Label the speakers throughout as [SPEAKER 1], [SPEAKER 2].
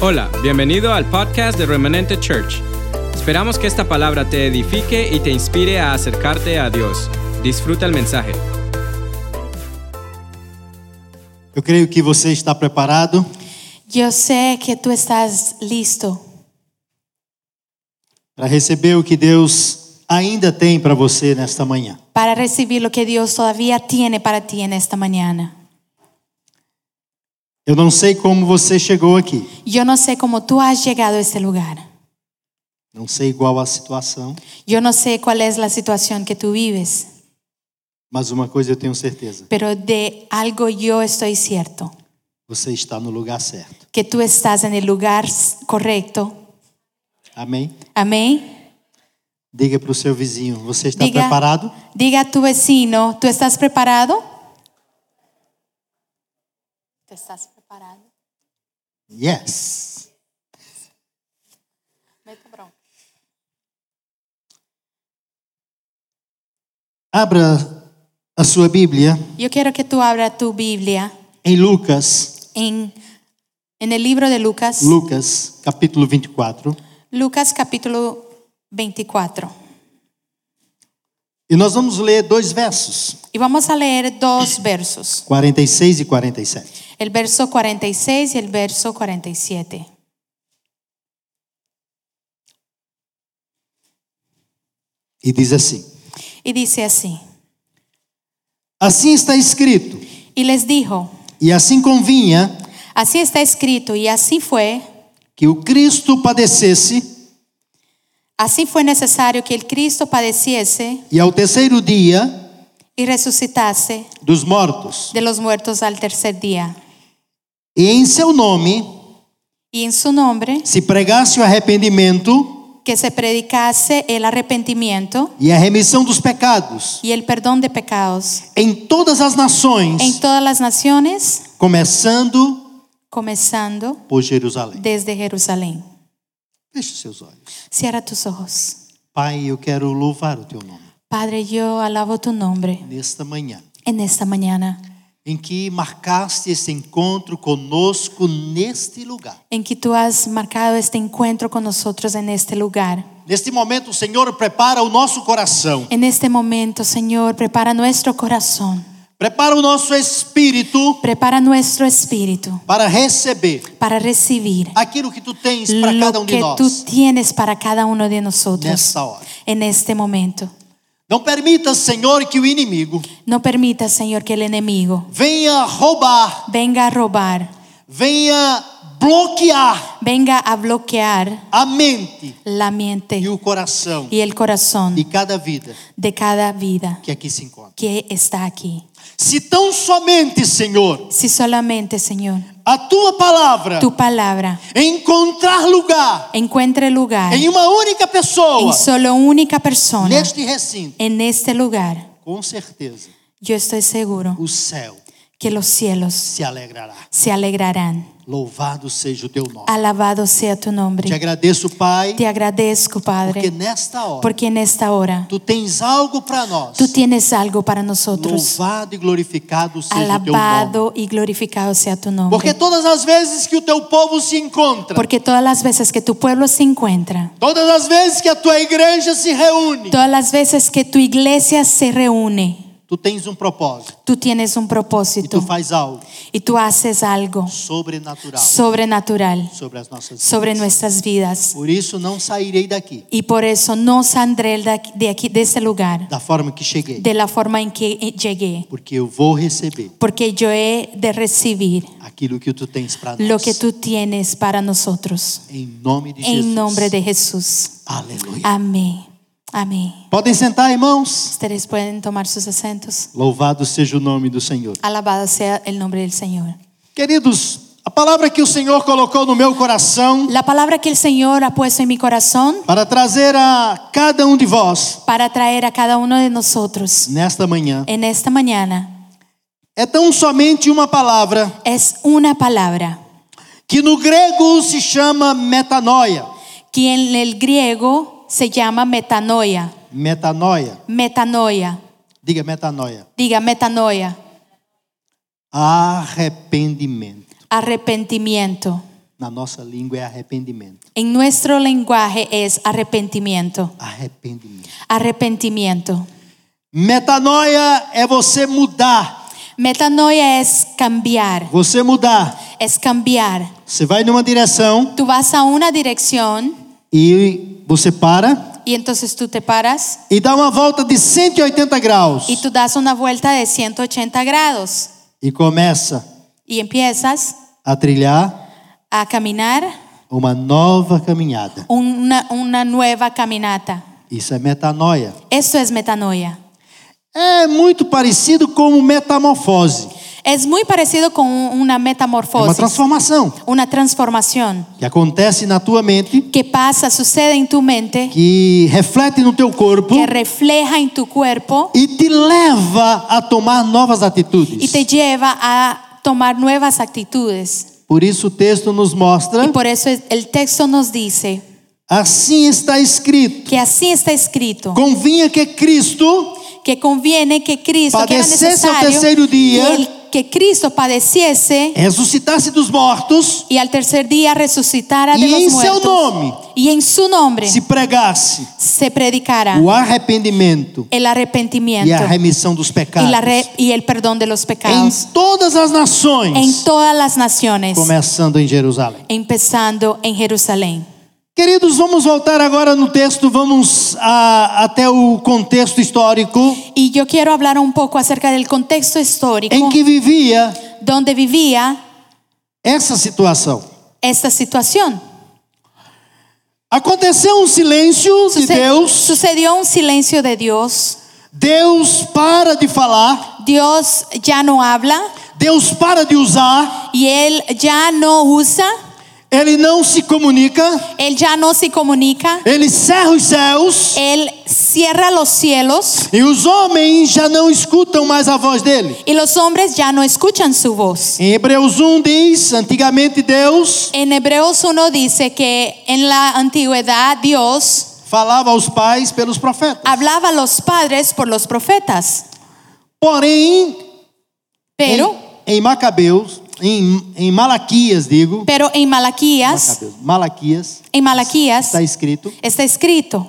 [SPEAKER 1] Hola, bienvenido al podcast de Remanente Church. Esperamos que esta palabra te edifique y te inspire a acercarte a Dios. Disfruta el mensaje.
[SPEAKER 2] Eu creio que você está preparado.
[SPEAKER 3] Yo sé que tú estás listo
[SPEAKER 2] para receber o que Deus ainda tem para você nesta manhã.
[SPEAKER 3] para recibir lo que Dios todavía tiene para ti en esta mañana.
[SPEAKER 2] Eu não sei como você chegou aqui,
[SPEAKER 3] Yo no sé cómo tú has llegado a este lugar.
[SPEAKER 2] não sei qual a situação,
[SPEAKER 3] Yo no sé cuál es la situación que tú vives,
[SPEAKER 2] mas uma coisa eu tenho certeza:
[SPEAKER 3] pero de algo yo estoy cierto,
[SPEAKER 2] você está no lugar certo.
[SPEAKER 3] que tú estás en el lugar s- correcto.
[SPEAKER 2] Amém?
[SPEAKER 3] Amén.
[SPEAKER 2] Diga para o seu vizinho: você está
[SPEAKER 3] Diga.
[SPEAKER 2] preparado?
[SPEAKER 3] Diga a tu vecino, ¿tú estás preparado? ¿Tú estás preparado?
[SPEAKER 2] Yes. Abra a sua Bíblia
[SPEAKER 3] Yo quiero que tú abras tu Biblia
[SPEAKER 2] em Lucas,
[SPEAKER 3] en, en el libro de Lucas.
[SPEAKER 2] Lucas, capítulo 24.
[SPEAKER 3] Lucas capítulo 24.
[SPEAKER 2] E nós vamos ler dois versos,
[SPEAKER 3] Y vamos a leer dos versos,
[SPEAKER 2] 46 e 47.
[SPEAKER 3] el verso 46 y el verso 47.
[SPEAKER 2] E diz assim:
[SPEAKER 3] Y dice así,
[SPEAKER 2] Assim está escrito,
[SPEAKER 3] y les dijo,
[SPEAKER 2] e assim convinha
[SPEAKER 3] así está escrito y así fue,
[SPEAKER 2] que o Cristo padecesse
[SPEAKER 3] así fue necesario que el Cristo padeciese
[SPEAKER 2] e ao terceiro dia
[SPEAKER 3] y resucitase
[SPEAKER 2] dos mortos,
[SPEAKER 3] de los muertos al tercer día,
[SPEAKER 2] e em seu nome
[SPEAKER 3] y en su nombre
[SPEAKER 2] se pregasse o arrependimento
[SPEAKER 3] que se predicase el arrepentimiento
[SPEAKER 2] e a remissão dos pecados
[SPEAKER 3] y el perdón de pecados
[SPEAKER 2] em todas as
[SPEAKER 3] en
[SPEAKER 2] nações,
[SPEAKER 3] todas las naciones,
[SPEAKER 2] começando
[SPEAKER 3] comenzando
[SPEAKER 2] por Jerusalém.
[SPEAKER 3] desde Jerusalén.
[SPEAKER 2] Feche seus olhos.
[SPEAKER 3] Cierra tus ojos.
[SPEAKER 2] Pai, eu quero louvar o teu nome
[SPEAKER 3] Padre, yo alabo tu nombre
[SPEAKER 2] nesta manhã,
[SPEAKER 3] en esta mañana,
[SPEAKER 2] em que marcaste esse encontro conosco neste lugar.
[SPEAKER 3] en que tú has marcado este encuentro con nosotros en este lugar.
[SPEAKER 2] Neste momento, o Senhor prepara o nosso coração,
[SPEAKER 3] En este momento, Señor, prepara nuestro corazón,
[SPEAKER 2] prepara o nosso espírito
[SPEAKER 3] prepara nuestro espíritu
[SPEAKER 2] para receber
[SPEAKER 3] para recibir
[SPEAKER 2] aquilo que tu tens para cada
[SPEAKER 3] lo
[SPEAKER 2] um de
[SPEAKER 3] que tú
[SPEAKER 2] nós
[SPEAKER 3] tienes para cada uno de nosotros
[SPEAKER 2] nessa hora.
[SPEAKER 3] en este momento.
[SPEAKER 2] Não permita, Senhor, que o inimigo
[SPEAKER 3] No permita, Señor, que el enemigo
[SPEAKER 2] venha roubar,
[SPEAKER 3] venga a robar,
[SPEAKER 2] venha bloquear
[SPEAKER 3] venga a bloquear
[SPEAKER 2] a mente
[SPEAKER 3] la
[SPEAKER 2] e
[SPEAKER 3] mente
[SPEAKER 2] o coração
[SPEAKER 3] y el corazón
[SPEAKER 2] de cada vida
[SPEAKER 3] de cada vida.
[SPEAKER 2] que aqui se encontra.
[SPEAKER 3] que está aquí.
[SPEAKER 2] Se tão somente, Senhor,
[SPEAKER 3] Si solamente, Señor,
[SPEAKER 2] a tua palavra
[SPEAKER 3] tu palabra
[SPEAKER 2] encontrar lugar
[SPEAKER 3] encuentre lugar
[SPEAKER 2] em uma única pessoa
[SPEAKER 3] en solo única persona
[SPEAKER 2] neste recinto,
[SPEAKER 3] en este lugar,
[SPEAKER 2] com certeza
[SPEAKER 3] yo estoy seguro
[SPEAKER 2] o céu
[SPEAKER 3] que los cielos
[SPEAKER 2] se alegrará.
[SPEAKER 3] se alegrarán.
[SPEAKER 2] Louvado seja o teu nome.
[SPEAKER 3] Alabado sea
[SPEAKER 2] Te
[SPEAKER 3] tu nombre.
[SPEAKER 2] agradeço, Pai,
[SPEAKER 3] Te agradezco,
[SPEAKER 2] porque
[SPEAKER 3] Padre,
[SPEAKER 2] nesta hora
[SPEAKER 3] porque en esta hora
[SPEAKER 2] tu tens algo para nós.
[SPEAKER 3] tú tienes algo para nosotros.
[SPEAKER 2] Louvado e glorificado seja o teu nome.
[SPEAKER 3] Alabado y glorificado sea tu
[SPEAKER 2] Porque
[SPEAKER 3] nombre.
[SPEAKER 2] todas as vezes que o teu povo se encontra,
[SPEAKER 3] Porque todas las veces que tu pueblo se encuentra,
[SPEAKER 2] todas as vezes que a tua igreja se reúne,
[SPEAKER 3] todas las veces que tu iglesia se reúne,
[SPEAKER 2] tu tens um propósito
[SPEAKER 3] tú tienes un
[SPEAKER 2] e tu
[SPEAKER 3] propósito.
[SPEAKER 2] faz algo
[SPEAKER 3] y tú haces algo
[SPEAKER 2] sobrenatural
[SPEAKER 3] sobrenatural
[SPEAKER 2] sobre as nossas vidas.
[SPEAKER 3] sobre nuestras vidas.
[SPEAKER 2] Por isso não sairei daqui
[SPEAKER 3] Y por eso no saldré de aquí- de aquí, de este lugar,
[SPEAKER 2] da forma que cheguei,
[SPEAKER 3] de la forma en que llegué,
[SPEAKER 2] porque eu vou receber
[SPEAKER 3] porque yo he de recibir
[SPEAKER 2] aquilo que tu tens para
[SPEAKER 3] lo
[SPEAKER 2] nós.
[SPEAKER 3] que tú tienes para nosotros.
[SPEAKER 2] Em nome de Jesus.
[SPEAKER 3] En nombre de Jesús.
[SPEAKER 2] Aleluia.
[SPEAKER 3] Amén. Amén.
[SPEAKER 2] Podem sentar, irmãos.
[SPEAKER 3] Ustedes pueden tomar sus acentos.
[SPEAKER 2] Louvado seja o nome do Senhor.
[SPEAKER 3] Alabado sea el nombre del Señor.
[SPEAKER 2] Queridos, a palavra que o Senhor colocou no meu coração
[SPEAKER 3] La palabra que el Señor ha puesto en mi corazón
[SPEAKER 2] para trazer a cada um de vós
[SPEAKER 3] para traer a cada uno de nosotros
[SPEAKER 2] nesta manhã
[SPEAKER 3] en esta mañana
[SPEAKER 2] é tão somente uma palavra
[SPEAKER 3] es una palabra
[SPEAKER 2] que no grego se chama metanoia.
[SPEAKER 3] que en el griego se llama metanoia.
[SPEAKER 2] Metanoia.
[SPEAKER 3] Metanoia.
[SPEAKER 2] Diga metanoia.
[SPEAKER 3] Diga metanoia.
[SPEAKER 2] Arrependimento.
[SPEAKER 3] Arrepentimiento.
[SPEAKER 2] na nossa língua é arrependimento.
[SPEAKER 3] En nuestro lenguaje es arrepentimiento.
[SPEAKER 2] Arrependimento.
[SPEAKER 3] Arrepentimiento.
[SPEAKER 2] Metanoia é você mudar.
[SPEAKER 3] Metanoia es cambiar.
[SPEAKER 2] Você mudar.
[SPEAKER 3] Es cambiar.
[SPEAKER 2] Você vai numa direção
[SPEAKER 3] Tú vas a una dirección
[SPEAKER 2] e você para
[SPEAKER 3] y entonces tú te paras
[SPEAKER 2] e dá uma volta de 180 graus
[SPEAKER 3] y tú das una vuelta de 180 grados
[SPEAKER 2] e começa
[SPEAKER 3] y empiezas
[SPEAKER 2] a trilhar
[SPEAKER 3] a caminar
[SPEAKER 2] uma nova caminhada.
[SPEAKER 3] una, una nueva caminata.
[SPEAKER 2] Isso é metanoia.
[SPEAKER 3] Esto es metanoia.
[SPEAKER 2] É muito parecido com metamorfose.
[SPEAKER 3] Es muy parecido con un- una
[SPEAKER 2] É uma
[SPEAKER 3] metamorfosis,
[SPEAKER 2] transformação
[SPEAKER 3] una transformación
[SPEAKER 2] que acontece na tua mente,
[SPEAKER 3] que pasa, sucede en tu mente,
[SPEAKER 2] que reflete no teu corpo
[SPEAKER 3] que refleja en tu cuerpo
[SPEAKER 2] e te leva a tomar novas
[SPEAKER 3] y
[SPEAKER 2] atitudes.
[SPEAKER 3] te lleva a tomar nuevas actitudes.
[SPEAKER 2] Por isso o texto nos
[SPEAKER 3] Y
[SPEAKER 2] mostra,
[SPEAKER 3] por eso es- el texto nos dice
[SPEAKER 2] assim está escrito.
[SPEAKER 3] que así está escrito,
[SPEAKER 2] Convinha que Cristo
[SPEAKER 3] que conviene que Cristo que era
[SPEAKER 2] Padecesse
[SPEAKER 3] necesario,
[SPEAKER 2] al tercer día.
[SPEAKER 3] que el- que Cristo padeciese
[SPEAKER 2] ressuscitasse dos mortos
[SPEAKER 3] y al tercer día resucitara de
[SPEAKER 2] e em
[SPEAKER 3] los
[SPEAKER 2] seu
[SPEAKER 3] muertos
[SPEAKER 2] nome
[SPEAKER 3] y en su nombre
[SPEAKER 2] se pregasse
[SPEAKER 3] se predicara
[SPEAKER 2] o arrependimento
[SPEAKER 3] el
[SPEAKER 2] e a
[SPEAKER 3] arrepentimiento
[SPEAKER 2] remissão dos
[SPEAKER 3] y,
[SPEAKER 2] pecados
[SPEAKER 3] la re- y el perdón de los pecados
[SPEAKER 2] em todas as
[SPEAKER 3] en
[SPEAKER 2] nações,
[SPEAKER 3] todas las naciones,
[SPEAKER 2] começando em Jerusalém.
[SPEAKER 3] empezando en Jerusalén.
[SPEAKER 2] Queridos, vamos voltar agora no texto, vamos a- até o contexto histórico
[SPEAKER 3] Y yo quiero hablar un poco acerca del contexto histórico
[SPEAKER 2] em que vivia
[SPEAKER 3] donde vivía
[SPEAKER 2] essa situação.
[SPEAKER 3] esta situación.
[SPEAKER 2] Aconteceu um silêncio de
[SPEAKER 3] Suce-
[SPEAKER 2] Deus,
[SPEAKER 3] Sucedió un silencio de Dios.
[SPEAKER 2] Deus para de falar,
[SPEAKER 3] Dios ya no habla
[SPEAKER 2] Deus para de usar,
[SPEAKER 3] y Él ya no usa,
[SPEAKER 2] ele não se comunica,
[SPEAKER 3] Él ya no se comunica,
[SPEAKER 2] ele cerra os céus
[SPEAKER 3] Él cierra los cielos
[SPEAKER 2] e os homens já não escutam mais a voz dele.
[SPEAKER 3] y los hombres ya no escuchan su voz.
[SPEAKER 2] Em Hebreus 1 diz: antigamente Deus
[SPEAKER 3] En Hebreos 1 dice que en la antigüedad Dios
[SPEAKER 2] falava aos pais pelos profetas.
[SPEAKER 3] hablaba a los padres por los profetas,
[SPEAKER 2] Porém,
[SPEAKER 3] pero,
[SPEAKER 2] em, em Macabeus, em, em Malaquias, digo,
[SPEAKER 3] pero en Malaquías,
[SPEAKER 2] Macabeus, Malaquias,
[SPEAKER 3] en Malaquías
[SPEAKER 2] está escrito
[SPEAKER 3] está escrito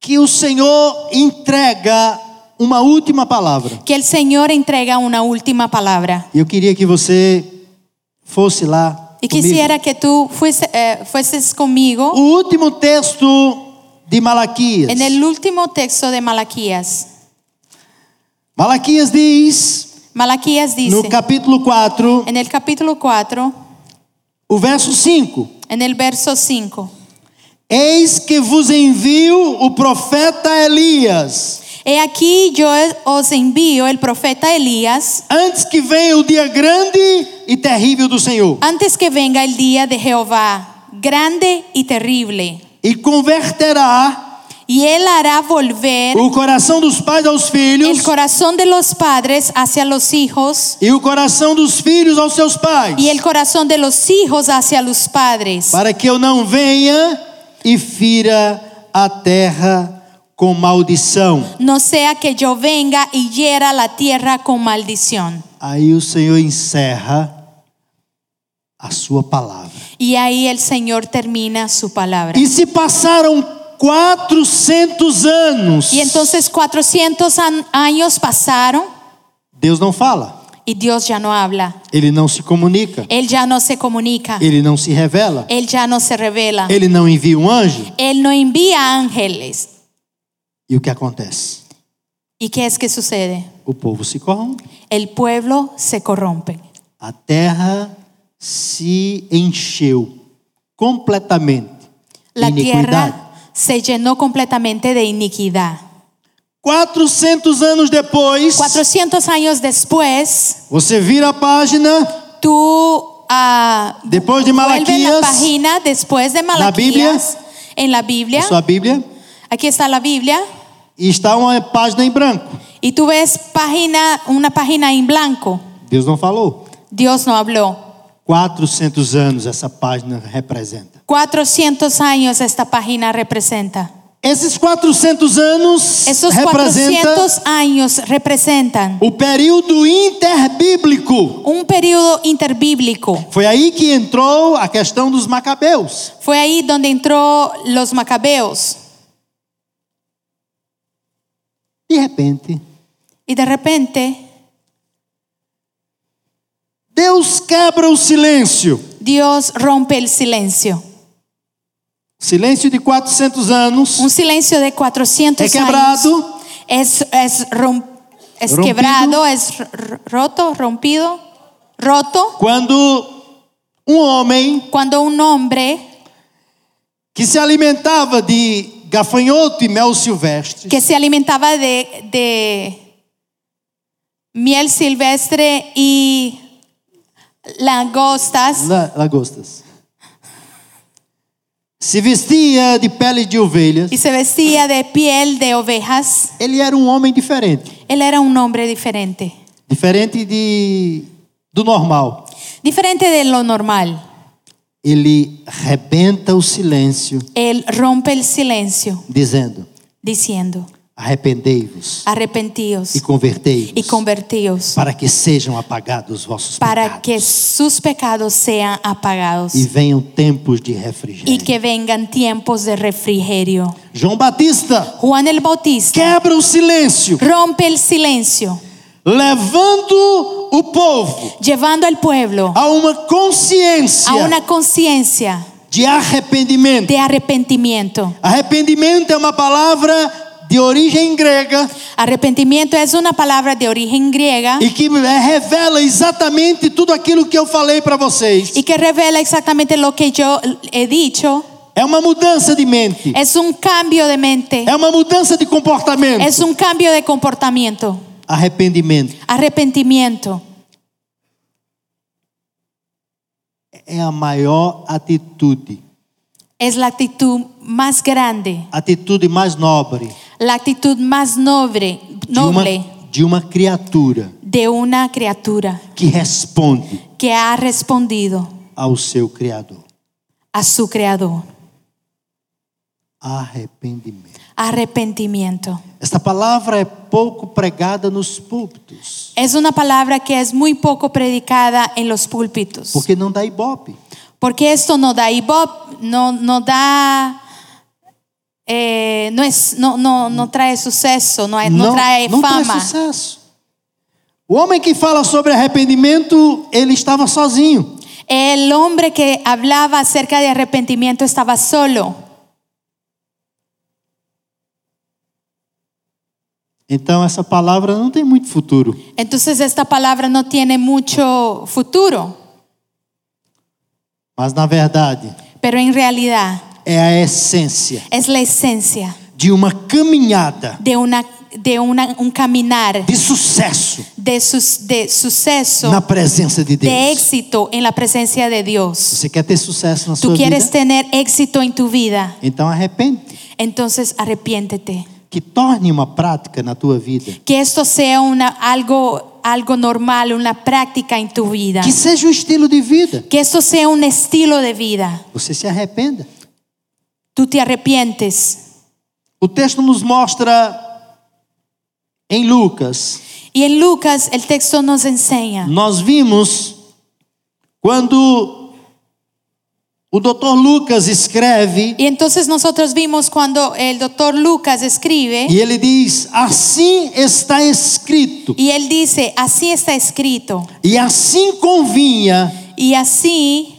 [SPEAKER 2] que o Senhor entrega uma última palavra.
[SPEAKER 3] que el Señor entrega una última palabra.
[SPEAKER 2] E eu queria que você fosse lá.
[SPEAKER 3] Y
[SPEAKER 2] comigo.
[SPEAKER 3] quisiera que tú fuese- eh, fueses conmigo
[SPEAKER 2] O último texto de Malaquias.
[SPEAKER 3] En el último texto de Malaquías,
[SPEAKER 2] Malaquias diz,
[SPEAKER 3] Malaquías dice,
[SPEAKER 2] no capítulo 4,
[SPEAKER 3] en el capítulo 4,
[SPEAKER 2] o verso 5.
[SPEAKER 3] en el verso 5,
[SPEAKER 2] Eis que vos envio o profeta Elias,
[SPEAKER 3] He aquí yo os envío el profeta Elías
[SPEAKER 2] antes que venha o dia grande e terrível do Senhor,
[SPEAKER 3] antes que venga el día de Jehová, grande y terrible,
[SPEAKER 2] e converterá
[SPEAKER 3] y él hará volver
[SPEAKER 2] o coração dos pais aos filhos
[SPEAKER 3] el corazón de los padres hacia los hijos
[SPEAKER 2] e o coração dos filhos aos seus pais,
[SPEAKER 3] y el corazón de los hijos hacia los padres,
[SPEAKER 2] para que eu não venha e fira a terra com maldição.
[SPEAKER 3] no sea que yo venga y hiera la tierra con maldición.
[SPEAKER 2] Aí o Senhor encerra a sua palavra.
[SPEAKER 3] Y ahí el Señor termina su palabra.
[SPEAKER 2] E se passaram 400 anos.
[SPEAKER 3] Y entonces 400 an- años pasaron
[SPEAKER 2] Deus não fala,
[SPEAKER 3] y Dios ya no habla.
[SPEAKER 2] ele não se comunica,
[SPEAKER 3] Él ya no se comunica.
[SPEAKER 2] ele não se revela,
[SPEAKER 3] Él ya no se revela.
[SPEAKER 2] ele não envia um anjo.
[SPEAKER 3] Él no envía ángeles.
[SPEAKER 2] E o que acontece?
[SPEAKER 3] ¿Y qué es que sucede?
[SPEAKER 2] O povo se corrompe,
[SPEAKER 3] El pueblo se corrompe.
[SPEAKER 2] a terra se encheu completamente de
[SPEAKER 3] La
[SPEAKER 2] iniquidade.
[SPEAKER 3] tierra se llenó completamente de iniquidad.
[SPEAKER 2] 400 anos depois,
[SPEAKER 3] 400 años después,
[SPEAKER 2] você vira a página,
[SPEAKER 3] tú ah,
[SPEAKER 2] depois de
[SPEAKER 3] vuelves la
[SPEAKER 2] Malaquias,
[SPEAKER 3] página después de Malaquías en la Biblia.
[SPEAKER 2] a sua Bíblia,
[SPEAKER 3] Aquí está la Biblia.
[SPEAKER 2] e está uma página em branco.
[SPEAKER 3] Y tú ves página, una página en blanco.
[SPEAKER 2] Deus não falou.
[SPEAKER 3] Dios no habló.
[SPEAKER 2] 400 anos essa página representa.
[SPEAKER 3] 400 años esta página representa.
[SPEAKER 2] Esses 400 anos
[SPEAKER 3] Esos
[SPEAKER 2] representa
[SPEAKER 3] 400 años representan
[SPEAKER 2] o período interbíblico.
[SPEAKER 3] un período interbíblico.
[SPEAKER 2] Foi aí que entrou a questão dos macabeus.
[SPEAKER 3] Fue ahí donde entró los macabeos.
[SPEAKER 2] De repente,
[SPEAKER 3] Y de repente
[SPEAKER 2] Deus quebra o silêncio.
[SPEAKER 3] Dios rompe el silencio.
[SPEAKER 2] Silêncio de 400 anos.
[SPEAKER 3] Un silencio de 400
[SPEAKER 2] Es quebrado.
[SPEAKER 3] años. Es, es, rom- es
[SPEAKER 2] Rompido.
[SPEAKER 3] quebrado, es r- r- roto, rompido, roto.
[SPEAKER 2] Quando um homem
[SPEAKER 3] Cuando un hombre
[SPEAKER 2] que se alimentava de gafanhoto e mel silvestre,
[SPEAKER 3] que se alimentaba de, de miel silvestre y langostas
[SPEAKER 2] la- lagostas, se vestia de pele de ovelhas,
[SPEAKER 3] y se vestía de piel de ovejas,
[SPEAKER 2] ele era um homem diferente,
[SPEAKER 3] él era un hombre diferente,
[SPEAKER 2] diferente de do normal.
[SPEAKER 3] diferente de lo normal.
[SPEAKER 2] Ele rebenta o silêncio,
[SPEAKER 3] Él rompe el silencio
[SPEAKER 2] dizendo:
[SPEAKER 3] diciendo,
[SPEAKER 2] Arrependei-vos
[SPEAKER 3] arrepentíos
[SPEAKER 2] e
[SPEAKER 3] y
[SPEAKER 2] convertei-vos,
[SPEAKER 3] convertíos
[SPEAKER 2] para que sejam apagados os vossos
[SPEAKER 3] para que
[SPEAKER 2] pecados
[SPEAKER 3] sus pecados sean apagados
[SPEAKER 2] e venham tempos de
[SPEAKER 3] y
[SPEAKER 2] refrigério.
[SPEAKER 3] que vengan tiempos de refrigerio.
[SPEAKER 2] João Batista
[SPEAKER 3] Juan el Bautista
[SPEAKER 2] quebra o silêncio,
[SPEAKER 3] rompe el silencio,
[SPEAKER 2] levando o povo
[SPEAKER 3] llevando al pueblo
[SPEAKER 2] a uma consciência
[SPEAKER 3] a una conciencia
[SPEAKER 2] de arrependimento.
[SPEAKER 3] de arrepentimiento.
[SPEAKER 2] Arrependimento é uma palavra de origem grega
[SPEAKER 3] Arrepentimiento es una palabra de origen griega
[SPEAKER 2] e que eh, revela exatamente tudo aquilo que eu falei para vocês.
[SPEAKER 3] y que revela exactamente lo que yo he dicho.
[SPEAKER 2] É uma mudança de mente,
[SPEAKER 3] Es un cambio de mente,
[SPEAKER 2] é uma mudança de comportamento.
[SPEAKER 3] es un cambio de comportamiento.
[SPEAKER 2] Arrependimento
[SPEAKER 3] Arrepentimiento
[SPEAKER 2] é a maior atitude,
[SPEAKER 3] es la actitud más grande,
[SPEAKER 2] atitude mais nobre
[SPEAKER 3] la actitud más noble,
[SPEAKER 2] de uma,
[SPEAKER 3] noble
[SPEAKER 2] de uma criatura
[SPEAKER 3] de una criatura
[SPEAKER 2] que responde
[SPEAKER 3] que ha respondido
[SPEAKER 2] ao seu Criador.
[SPEAKER 3] a su creador.
[SPEAKER 2] Arrependimento.
[SPEAKER 3] Arrepentimiento.
[SPEAKER 2] Esta palavra é pouco pregada nos púlpitos,
[SPEAKER 3] Es una palabra que es muy poco predicada en los púlpitos.
[SPEAKER 2] porque não dá ibope.
[SPEAKER 3] Porque esto no da ibope, no, no da. eh, no, es, no, no, no trae suceso, no, no trae
[SPEAKER 2] não
[SPEAKER 3] fama.
[SPEAKER 2] traz sucesso. O homem que fala sobre arrependimento, ele estava sozinho.
[SPEAKER 3] El hombre que hablaba acerca de arrepentimiento estaba solo.
[SPEAKER 2] Então essa palavra não tem muito futuro.
[SPEAKER 3] Entonces esta palabra no tiene mucho futuro,
[SPEAKER 2] Mas na verdade,
[SPEAKER 3] pero en realidad
[SPEAKER 2] é a essência
[SPEAKER 3] es la esencia
[SPEAKER 2] de uma caminhada
[SPEAKER 3] de, una, de una- un caminar
[SPEAKER 2] de sucesso
[SPEAKER 3] de, sus- de suceso,
[SPEAKER 2] na presença de
[SPEAKER 3] de
[SPEAKER 2] Deus.
[SPEAKER 3] éxito en la presencia de Dios.
[SPEAKER 2] Você quer ter sucesso na
[SPEAKER 3] Tú
[SPEAKER 2] sua vida?
[SPEAKER 3] quieres tener éxito en tu vida,
[SPEAKER 2] Então arrepende.
[SPEAKER 3] entonces arrepiéntete.
[SPEAKER 2] Que torne uma prática na tua vida.
[SPEAKER 3] Que esto sea una, algo, algo normal, una práctica en tu vida.
[SPEAKER 2] Que seja um estilo de vida.
[SPEAKER 3] Que esto sea un estilo de vida.
[SPEAKER 2] Você se arrependa.
[SPEAKER 3] Tú te arrepientes.
[SPEAKER 2] O texto nos mostra em Lucas.
[SPEAKER 3] Y en Lucas el texto nos enseña.
[SPEAKER 2] Nós vimos quando o doutor Lucas escreve
[SPEAKER 3] Y entonces nosotros vimos cuando el doctor Lucas escribe
[SPEAKER 2] e ele diz: Assim está escrito.
[SPEAKER 3] y él dice, así está escrito.
[SPEAKER 2] E assim convinha,
[SPEAKER 3] Y así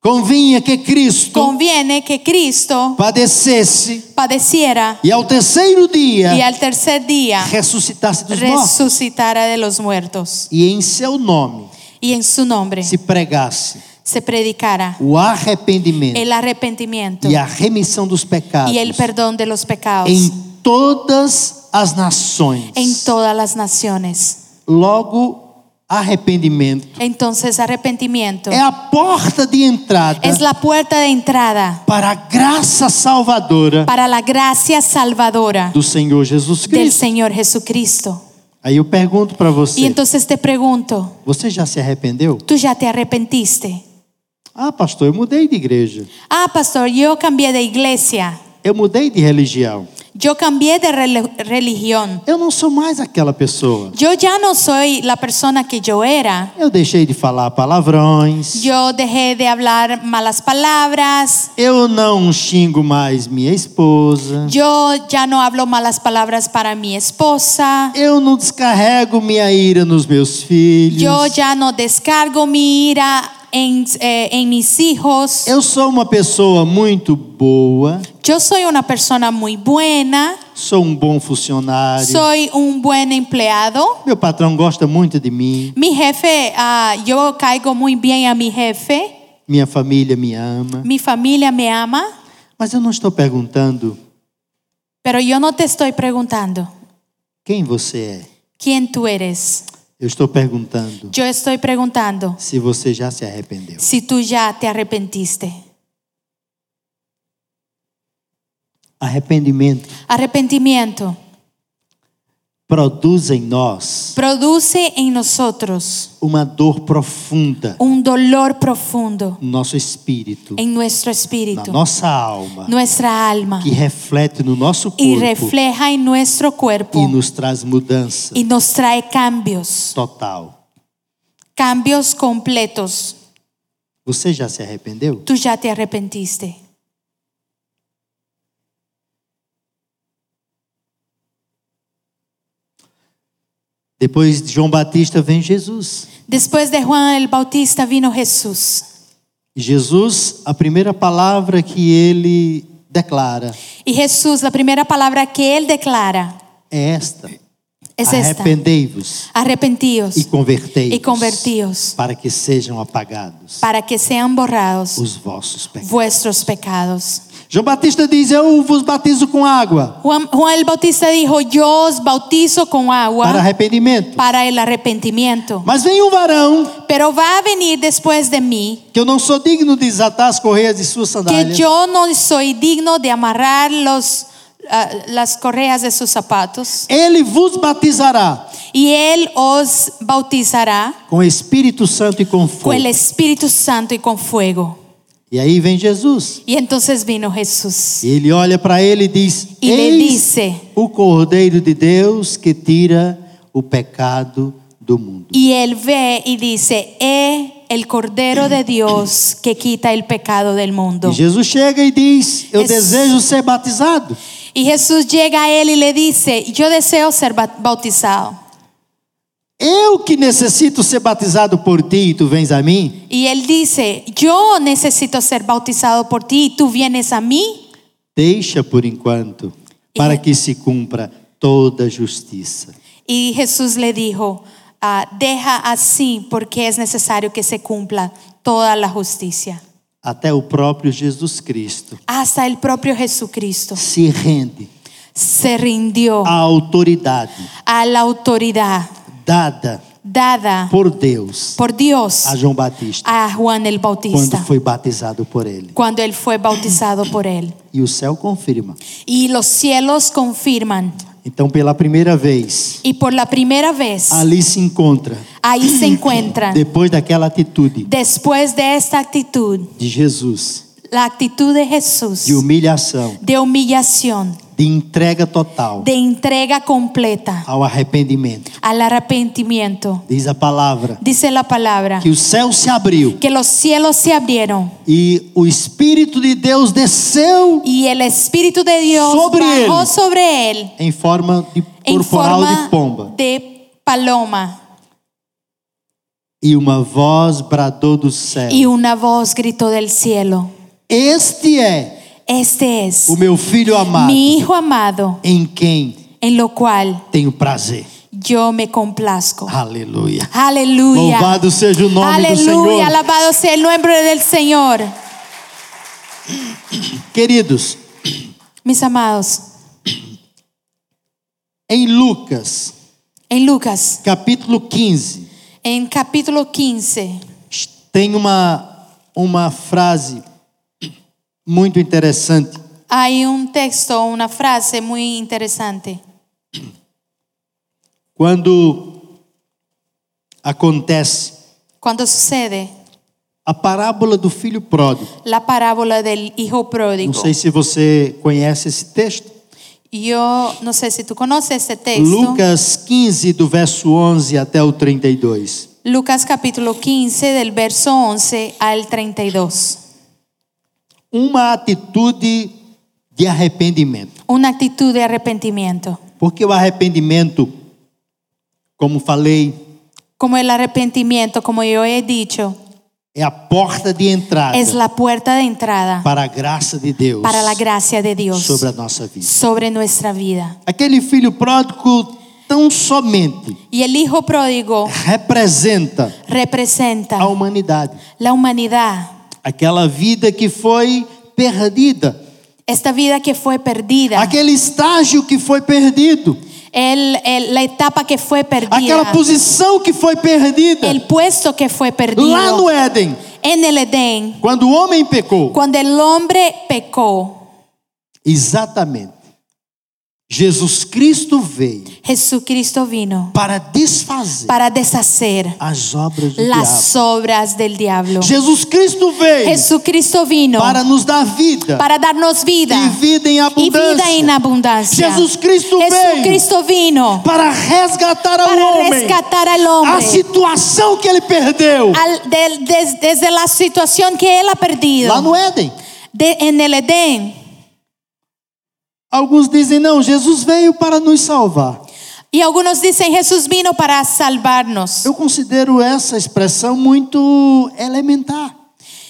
[SPEAKER 2] convinha que Cristo
[SPEAKER 3] conviene que Cristo
[SPEAKER 2] padecesse
[SPEAKER 3] padeciera
[SPEAKER 2] e ao terceiro
[SPEAKER 3] y
[SPEAKER 2] dia
[SPEAKER 3] al tercer día
[SPEAKER 2] ressuscitasse dos mortos.
[SPEAKER 3] resucitara de los muertos.
[SPEAKER 2] E em seu nome
[SPEAKER 3] Y en su nombre
[SPEAKER 2] se pregasse
[SPEAKER 3] se predicara
[SPEAKER 2] o arrependimento.
[SPEAKER 3] el arrepentimiento
[SPEAKER 2] e a remissão dos pecados
[SPEAKER 3] y el perdón de los pecados
[SPEAKER 2] em todas as nações.
[SPEAKER 3] en todas las naciones.
[SPEAKER 2] Logo, arrependimento
[SPEAKER 3] Entonces arrepentimiento
[SPEAKER 2] é a porta de entrada
[SPEAKER 3] es la puerta de entrada
[SPEAKER 2] para a graça salvadora
[SPEAKER 3] para la gracia salvadora
[SPEAKER 2] do Senhor Jesus
[SPEAKER 3] del
[SPEAKER 2] Cristo.
[SPEAKER 3] Señor Jesucristo.
[SPEAKER 2] Aí eu pergunto para
[SPEAKER 3] Y
[SPEAKER 2] você,
[SPEAKER 3] entonces te pregunto,
[SPEAKER 2] você já se arrependeu?
[SPEAKER 3] ¿tú ya te arrepentiste?
[SPEAKER 2] Ah, pastor, eu mudei de igreja.
[SPEAKER 3] Ah, pastor, yo cambié de iglesia.
[SPEAKER 2] Eu mudei de religião.
[SPEAKER 3] Yo cambié de rele- religión.
[SPEAKER 2] Eu não sou mais aquela pessoa.
[SPEAKER 3] Yo ya no soy la persona que yo era.
[SPEAKER 2] Eu deixei de falar palavrões.
[SPEAKER 3] Yo dejé de hablar malas palabras.
[SPEAKER 2] Eu não xingo mais minha esposa.
[SPEAKER 3] Yo ya no hablo malas palabras para mi esposa.
[SPEAKER 2] Eu não descarrego minha ira nos meus filhos.
[SPEAKER 3] Yo ya no descargo mi ira en, eh, en mis hijos.
[SPEAKER 2] Eu sou uma pessoa muito boa,
[SPEAKER 3] Yo soy una persona muy buena.
[SPEAKER 2] sou um bom funcionário.
[SPEAKER 3] Soy un buen empleado.
[SPEAKER 2] Meu patrão gosta muito de mim,
[SPEAKER 3] Mi jefe, ah, yo caigo muy bien a mi jefe.
[SPEAKER 2] minha família me ama.
[SPEAKER 3] Mi familia me ama.
[SPEAKER 2] Mas eu não estou perguntando
[SPEAKER 3] Pero yo no te estoy preguntando
[SPEAKER 2] quem você é.
[SPEAKER 3] quién tú eres.
[SPEAKER 2] Eu estou perguntando
[SPEAKER 3] Yo estoy preguntando
[SPEAKER 2] se você já se arrependeu.
[SPEAKER 3] si tú ya te arrepentiste.
[SPEAKER 2] Arrependimento
[SPEAKER 3] Arrepentimiento
[SPEAKER 2] produz em nós
[SPEAKER 3] produce en nosotros
[SPEAKER 2] uma dor profunda
[SPEAKER 3] un dolor profundo
[SPEAKER 2] no nosso espírito,
[SPEAKER 3] en nuestro
[SPEAKER 2] na
[SPEAKER 3] espíritu,
[SPEAKER 2] nossa alma,
[SPEAKER 3] nuestra alma,
[SPEAKER 2] que reflete no nosso
[SPEAKER 3] y
[SPEAKER 2] corpo
[SPEAKER 3] refleja en nuestro
[SPEAKER 2] e
[SPEAKER 3] cuerpo
[SPEAKER 2] nos traz mudança
[SPEAKER 3] y nos trae cambios,
[SPEAKER 2] total.
[SPEAKER 3] cambios completos.
[SPEAKER 2] Você já se arrependeu?
[SPEAKER 3] Tú ya te arrepentiste.
[SPEAKER 2] Depois de João Batista vem Jesus.
[SPEAKER 3] Después de Juan el Bautista vino Jesús.
[SPEAKER 2] Jesus, a primeira palavra que ele declara
[SPEAKER 3] Y Jesús, la primera palabra que él declara
[SPEAKER 2] é esta:
[SPEAKER 3] es é esta.
[SPEAKER 2] Arrependei-vos
[SPEAKER 3] Arrepentíos
[SPEAKER 2] e convertei-vos,
[SPEAKER 3] y convertíos
[SPEAKER 2] para que sejam apagados
[SPEAKER 3] para que sean borrados
[SPEAKER 2] os vossos pecados.
[SPEAKER 3] vuestros pecados.
[SPEAKER 2] João Batista diz: Eu vos batizo com água
[SPEAKER 3] Juan, Juan el Bautista dijo, yo os bautizo con
[SPEAKER 2] para
[SPEAKER 3] agua
[SPEAKER 2] arrependimento.
[SPEAKER 3] para el arrepentimiento.
[SPEAKER 2] Mas vem um varão
[SPEAKER 3] Pero va a venir después de mí
[SPEAKER 2] que eu não sou digno de desatar as correias de suas
[SPEAKER 3] que
[SPEAKER 2] sandálias.
[SPEAKER 3] yo no soy digno de amarrar los, ah, las correas de sus zapatos.
[SPEAKER 2] Ele vos batizará
[SPEAKER 3] Y él os bautizará
[SPEAKER 2] com Espírito Santo e com fogo.
[SPEAKER 3] con el Espíritu Santo y con fuego.
[SPEAKER 2] E aí vem Jesus.
[SPEAKER 3] Y entonces vino Jesús
[SPEAKER 2] E ele olha para ele e diz:
[SPEAKER 3] y le
[SPEAKER 2] Eis
[SPEAKER 3] dice,
[SPEAKER 2] o Cordeiro de Deus que tira o pecado do mundo.
[SPEAKER 3] y él ve y dice, he el Cordero de Dios que quita el pecado del mundo.
[SPEAKER 2] E Jesus chega e diz: Eu
[SPEAKER 3] Es-
[SPEAKER 2] desejo ser batizado.
[SPEAKER 3] Y Jesús llega a él y le dice, yo deseo ser bat- bautizado.
[SPEAKER 2] Eu que necessito ser batizado por ti e tu vens a mim?
[SPEAKER 3] Y él dice, yo necesito ser bautizado por ti y tú vienes a mí.
[SPEAKER 2] Deixa por enquanto, para que se cumpra toda a justiça.
[SPEAKER 3] Y Jesús le dijo, "Ah, deja así porque es necesario que se cumpla toda la justicia.
[SPEAKER 2] Até o próprio Jesus Cristo
[SPEAKER 3] Hasta el propio Jesucristo
[SPEAKER 2] se rende
[SPEAKER 3] se rindió
[SPEAKER 2] à autoridade
[SPEAKER 3] a la autoridad
[SPEAKER 2] dada
[SPEAKER 3] dada
[SPEAKER 2] por Deus
[SPEAKER 3] por Dios
[SPEAKER 2] a João Batista
[SPEAKER 3] a Juan el
[SPEAKER 2] quando
[SPEAKER 3] Bautista
[SPEAKER 2] foi batizado por ele.
[SPEAKER 3] cuando él fue bautizado por él.
[SPEAKER 2] E o céu confirma.
[SPEAKER 3] Y los cielos confirman.
[SPEAKER 2] Então, pela primeira vez,
[SPEAKER 3] Y por la primera vez,
[SPEAKER 2] ali se encontra,
[SPEAKER 3] ahí se encuentran,
[SPEAKER 2] depois daquela atitude
[SPEAKER 3] después Ah. de esta actitud,
[SPEAKER 2] de Jesus,
[SPEAKER 3] la actitud de Jesús,
[SPEAKER 2] de humilhação,
[SPEAKER 3] de humillación,
[SPEAKER 2] de entrega total
[SPEAKER 3] de entrega completa
[SPEAKER 2] ao arrependimento.
[SPEAKER 3] al arrepentimiento.
[SPEAKER 2] Diz a palavra
[SPEAKER 3] Dice la palabra
[SPEAKER 2] que o céu se abriu
[SPEAKER 3] que los cielos se abrieron
[SPEAKER 2] e o Espírito de Deus desceu
[SPEAKER 3] y el Espíritu de Dios
[SPEAKER 2] Sobre
[SPEAKER 3] bajó
[SPEAKER 2] él.
[SPEAKER 3] sobre él
[SPEAKER 2] em forma de
[SPEAKER 3] en
[SPEAKER 2] corporal
[SPEAKER 3] forma
[SPEAKER 2] de pomba.
[SPEAKER 3] de paloma.
[SPEAKER 2] E uma voz bradou do céu:
[SPEAKER 3] Y una voz gritó del cielo,
[SPEAKER 2] Este é
[SPEAKER 3] este es
[SPEAKER 2] o meu filho amado,
[SPEAKER 3] mi Hijo amado,
[SPEAKER 2] em quem
[SPEAKER 3] en lo cual
[SPEAKER 2] tenho prazer.
[SPEAKER 3] yo me complazco.
[SPEAKER 2] Aleluia.
[SPEAKER 3] Aleluya.
[SPEAKER 2] Louvado seja o nome do Senhor.
[SPEAKER 3] Aleluya, alabado sea el nombre del Señor.
[SPEAKER 2] Queridos,
[SPEAKER 3] Mis amados,
[SPEAKER 2] em Lucas,
[SPEAKER 3] en Lucas,
[SPEAKER 2] capítulo 15,
[SPEAKER 3] en capítulo 15,
[SPEAKER 2] tem uma, uma frase muito interessante.
[SPEAKER 3] hay un texto, una frase muy interesante.
[SPEAKER 2] Quando acontece
[SPEAKER 3] Cuando sucede
[SPEAKER 2] a parábola do filho pródigo.
[SPEAKER 3] la parábola del hijo
[SPEAKER 2] Não
[SPEAKER 3] pródigo.
[SPEAKER 2] sei se você conhece esse texto.
[SPEAKER 3] Yo no sé si tú conoces este texto.
[SPEAKER 2] Lucas 15, do verso 11 até o 32.
[SPEAKER 3] Lucas capítulo 15 del verso 11 al 32.
[SPEAKER 2] Uma atitude de arrependimento.
[SPEAKER 3] Una actitud de arrepentimiento.
[SPEAKER 2] Porque o arrependimento, como falei,
[SPEAKER 3] Como el arrepentimiento, como yo he dicho,
[SPEAKER 2] é a porta de entrada
[SPEAKER 3] es la puerta de entrada
[SPEAKER 2] para a graça de Deus
[SPEAKER 3] É para la gracia de Dios
[SPEAKER 2] sobre a nossa vida.
[SPEAKER 3] sobre nuestra vida.
[SPEAKER 2] Aquele filho pródigo tão somente
[SPEAKER 3] Y el hijo pródigo
[SPEAKER 2] representa
[SPEAKER 3] representa
[SPEAKER 2] a humanidade,
[SPEAKER 3] la humanidad,
[SPEAKER 2] aquela vida que foi perdida,
[SPEAKER 3] esta vida que fue perdida,
[SPEAKER 2] aquele estágio que foi perdido,
[SPEAKER 3] el- el- la etapa que fue perdida,
[SPEAKER 2] aquela posição que foi perdida
[SPEAKER 3] el puesto que fue
[SPEAKER 2] lá no
[SPEAKER 3] perdido
[SPEAKER 2] Éden,
[SPEAKER 3] en el Edén,
[SPEAKER 2] quando o homem pecou.
[SPEAKER 3] cuando el hombre pecó.
[SPEAKER 2] Exatamente. Jesus Cristo veio
[SPEAKER 3] Jesucristo vino
[SPEAKER 2] para desfazer
[SPEAKER 3] para deshacer
[SPEAKER 2] as obras do diabo.
[SPEAKER 3] las obras del diablo.
[SPEAKER 2] Jesus Cristo veio
[SPEAKER 3] Jesucristo vino
[SPEAKER 2] para nos dar vida
[SPEAKER 3] para darnos vida
[SPEAKER 2] e vida em
[SPEAKER 3] y
[SPEAKER 2] abundância.
[SPEAKER 3] vida en abundancia.
[SPEAKER 2] Jesus Cristo veio
[SPEAKER 3] Jesucristo vino
[SPEAKER 2] para resgatar ao
[SPEAKER 3] para
[SPEAKER 2] homem
[SPEAKER 3] rescatar al
[SPEAKER 2] a
[SPEAKER 3] hombre
[SPEAKER 2] situação que ele perdeu
[SPEAKER 3] al- del- des- desde la situación que él
[SPEAKER 2] lá
[SPEAKER 3] ha perdido
[SPEAKER 2] no Éden.
[SPEAKER 3] de- en el Edén.
[SPEAKER 2] Alguns dizem, não, Jesus veio para nos salvar.
[SPEAKER 3] Y algunos dicen Jesús vino para salvarnos.
[SPEAKER 2] Eu considero essa expressão muito elementar,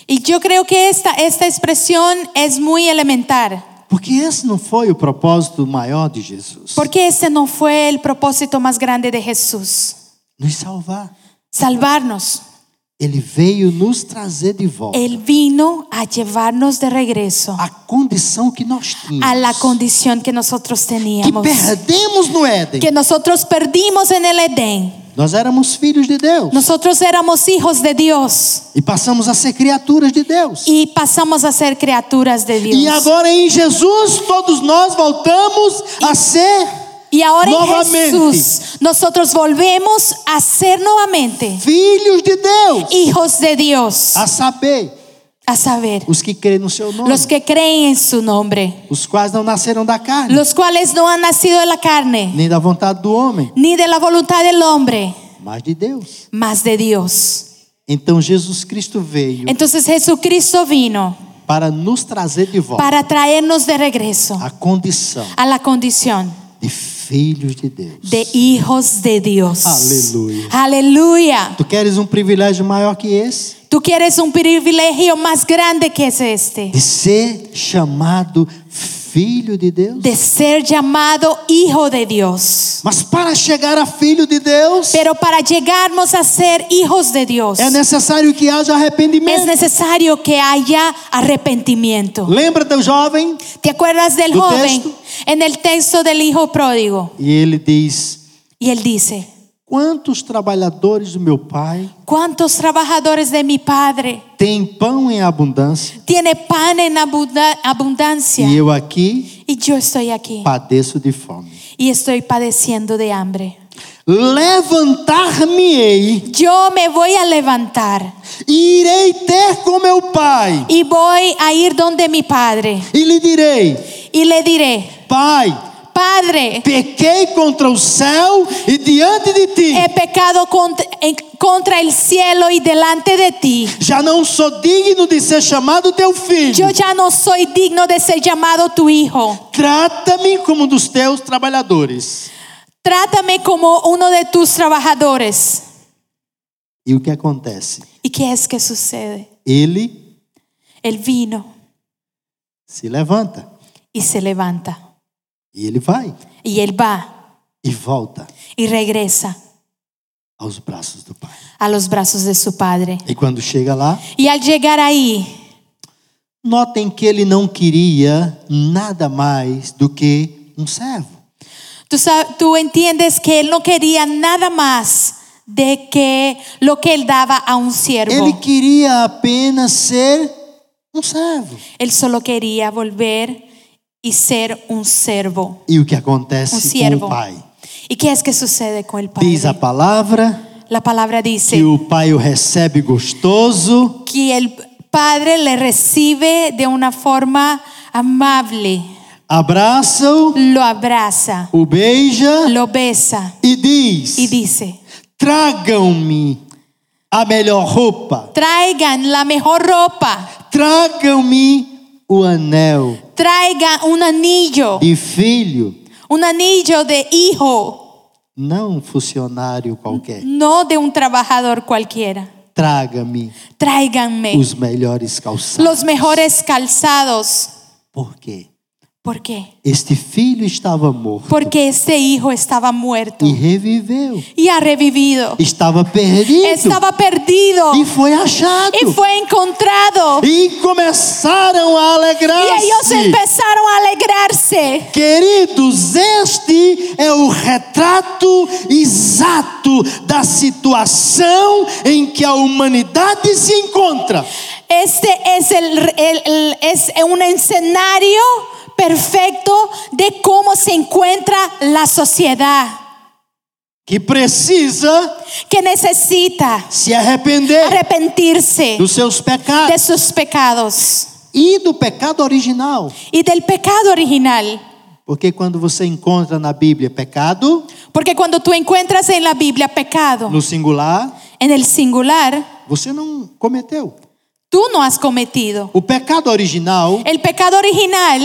[SPEAKER 3] Y yo creo que esta, esta expresión es muy elemental.
[SPEAKER 2] porque esse não foi o propósito maior de Jesus.
[SPEAKER 3] Porque ese no fue el propósito más grande de Jesús,
[SPEAKER 2] nos salvar.
[SPEAKER 3] salvarnos.
[SPEAKER 2] Ele veio nos trazer de volta
[SPEAKER 3] Él vino a llevarnos de regreso
[SPEAKER 2] a condição que nós tínhamos.
[SPEAKER 3] a la condición que nosotros
[SPEAKER 2] que
[SPEAKER 3] teníamos,
[SPEAKER 2] perdemos no Éden.
[SPEAKER 3] que nosotros perdimos en el Edén.
[SPEAKER 2] Nós éramos filhos de Deus
[SPEAKER 3] Nosotros éramos hijos de Dios
[SPEAKER 2] e passamos a ser criaturas de Deus.
[SPEAKER 3] y pasamos a ser criaturas de
[SPEAKER 2] E
[SPEAKER 3] Dios.
[SPEAKER 2] agora em Jesus todos nós voltamos a ser
[SPEAKER 3] Y ahora en
[SPEAKER 2] Nuevamente.
[SPEAKER 3] Jesús nosotros volvemos a ser nuevamente
[SPEAKER 2] filhos de Deus.
[SPEAKER 3] hijos de Dios,
[SPEAKER 2] A saber,
[SPEAKER 3] a saber,
[SPEAKER 2] os que creem no seu nome,
[SPEAKER 3] los que creen en su nombre,
[SPEAKER 2] os quais não nasceram da carne,
[SPEAKER 3] los cuales no han nacido de la carne,
[SPEAKER 2] nem da vontade do homem,
[SPEAKER 3] ni de la voluntad del hombre,
[SPEAKER 2] mas de Deus.
[SPEAKER 3] mas de Dios.
[SPEAKER 2] Então Jesus Cristo veio
[SPEAKER 3] Entonces Jesucristo vino
[SPEAKER 2] para nos trazer de volta
[SPEAKER 3] para traernos de regreso
[SPEAKER 2] a condição
[SPEAKER 3] a la condición
[SPEAKER 2] de filhos de Deus.
[SPEAKER 3] de hijos de Dios.
[SPEAKER 2] Aleluya.
[SPEAKER 3] Aleluya.
[SPEAKER 2] Tu queres um privilégio maior que ese?
[SPEAKER 3] Tú quieres un privilegio más grande que es este,
[SPEAKER 2] De ser chamado filho de Deus?
[SPEAKER 3] de ser llamado hijo de Dios.
[SPEAKER 2] Mas para chegar a filho de Deus,
[SPEAKER 3] Pero para llegarnos a ser hijos de Dios
[SPEAKER 2] é necessário que haja
[SPEAKER 3] es
[SPEAKER 2] arrependimento.
[SPEAKER 3] necesario que haya arrepentimiento.
[SPEAKER 2] Lembra do jovem?
[SPEAKER 3] ¿Te acuerdas del
[SPEAKER 2] ¿Tu
[SPEAKER 3] joven
[SPEAKER 2] texto?
[SPEAKER 3] en el texto del hijo pródigo?
[SPEAKER 2] E ele diz:
[SPEAKER 3] Y él dice,
[SPEAKER 2] Quantos trabalhadores do meu pai
[SPEAKER 3] ¿cuántos trabajadores de mi padre
[SPEAKER 2] têm pão em abundância
[SPEAKER 3] tiene pan en abunda- abundancia?
[SPEAKER 2] e eu aqui
[SPEAKER 3] Y yo estoy aquí
[SPEAKER 2] padeço de fome?
[SPEAKER 3] y estoy padeciendo de hambre.
[SPEAKER 2] Levantar-me-ei
[SPEAKER 3] Yo me voy a levantar
[SPEAKER 2] e irei ter com meu pai
[SPEAKER 3] y voy a ir donde mi padre
[SPEAKER 2] e lhe direi:
[SPEAKER 3] y le diré,
[SPEAKER 2] Pai,
[SPEAKER 3] Padre,
[SPEAKER 2] pequei contra o céu e diante de ti.
[SPEAKER 3] he pecado cont- en- contra el cielo y delante de ti.
[SPEAKER 2] Já não sou digno de ser chamado teu filho.
[SPEAKER 3] Yo ya no soy digno de ser llamado tu hijo.
[SPEAKER 2] Trata-me como um dos teus trabalhadores.
[SPEAKER 3] Trátame como uno de tus trabajadores.
[SPEAKER 2] E o que acontece?
[SPEAKER 3] ¿Y qué es que sucede?
[SPEAKER 2] Ele
[SPEAKER 3] Él vino
[SPEAKER 2] se levanta
[SPEAKER 3] y se levanta.
[SPEAKER 2] e ele vai
[SPEAKER 3] Y él va
[SPEAKER 2] e volta
[SPEAKER 3] y regresa
[SPEAKER 2] aos braços do pai.
[SPEAKER 3] a los brazos de su padre.
[SPEAKER 2] E quando chega lá,
[SPEAKER 3] Y al llegar ahí,
[SPEAKER 2] notem que ele não queria nada mais do que um servo.
[SPEAKER 3] tú, sab- tú entiendes que él no quería nada más de que lo que él daba a un
[SPEAKER 2] Ele
[SPEAKER 3] siervo.
[SPEAKER 2] queria apenas ser um servo.
[SPEAKER 3] Él solo quería volver y ser un servo,
[SPEAKER 2] E o que
[SPEAKER 3] un
[SPEAKER 2] acontece com o
[SPEAKER 3] Um siervo.
[SPEAKER 2] pai?
[SPEAKER 3] ¿Y qué es que sucede con el padre?
[SPEAKER 2] Diz a palavra
[SPEAKER 3] la palabra dice
[SPEAKER 2] que o Pai o recebe gostoso
[SPEAKER 3] que el Padre le recibe de una forma amable,
[SPEAKER 2] abraça-o,
[SPEAKER 3] lo abraza,
[SPEAKER 2] o beija
[SPEAKER 3] lo besa
[SPEAKER 2] e diz:
[SPEAKER 3] y dice,
[SPEAKER 2] Tragam-me a melhor roupa,
[SPEAKER 3] traigan la mejor ropa,
[SPEAKER 2] tragam-me o anel
[SPEAKER 3] traigan un anillo,
[SPEAKER 2] de filho,
[SPEAKER 3] un anillo de hijo,
[SPEAKER 2] não um funcionário qualquer.
[SPEAKER 3] no de un trabajador cualquiera.
[SPEAKER 2] Traga-me
[SPEAKER 3] Tráiganme
[SPEAKER 2] os melhores calçados.
[SPEAKER 3] los mejores calzados.
[SPEAKER 2] Por quê?
[SPEAKER 3] ¿Por qué?
[SPEAKER 2] Este filho estava morto
[SPEAKER 3] Porque este hijo estaba muerto
[SPEAKER 2] e reviveu.
[SPEAKER 3] y ha revivido.
[SPEAKER 2] Estava perdido
[SPEAKER 3] Estaba perdido
[SPEAKER 2] e foi achado.
[SPEAKER 3] y fue encontrado.
[SPEAKER 2] E começaram a
[SPEAKER 3] Y ellos
[SPEAKER 2] alegrar-se.
[SPEAKER 3] empezaron a alegrarse.
[SPEAKER 2] Queridos, este é o retrato exato da situação em que a humanidade se encontra.
[SPEAKER 3] Este es, el, el- el- es un escenario perfecto de cómo se encuentra la sociedad
[SPEAKER 2] Que precisa
[SPEAKER 3] que necesita
[SPEAKER 2] se arrepender
[SPEAKER 3] arrepentirse
[SPEAKER 2] dos seus
[SPEAKER 3] de
[SPEAKER 2] pecados
[SPEAKER 3] sus pecados
[SPEAKER 2] e do pecado original.
[SPEAKER 3] y del pecado original.
[SPEAKER 2] Porque quando você encontra na Bíblia pecado,
[SPEAKER 3] Porque cuando tú encuentras en la Biblia pecado
[SPEAKER 2] no singular,
[SPEAKER 3] en el singular,
[SPEAKER 2] você não cometeu.
[SPEAKER 3] tú no has cometido.
[SPEAKER 2] O pecado original,
[SPEAKER 3] El pecado original,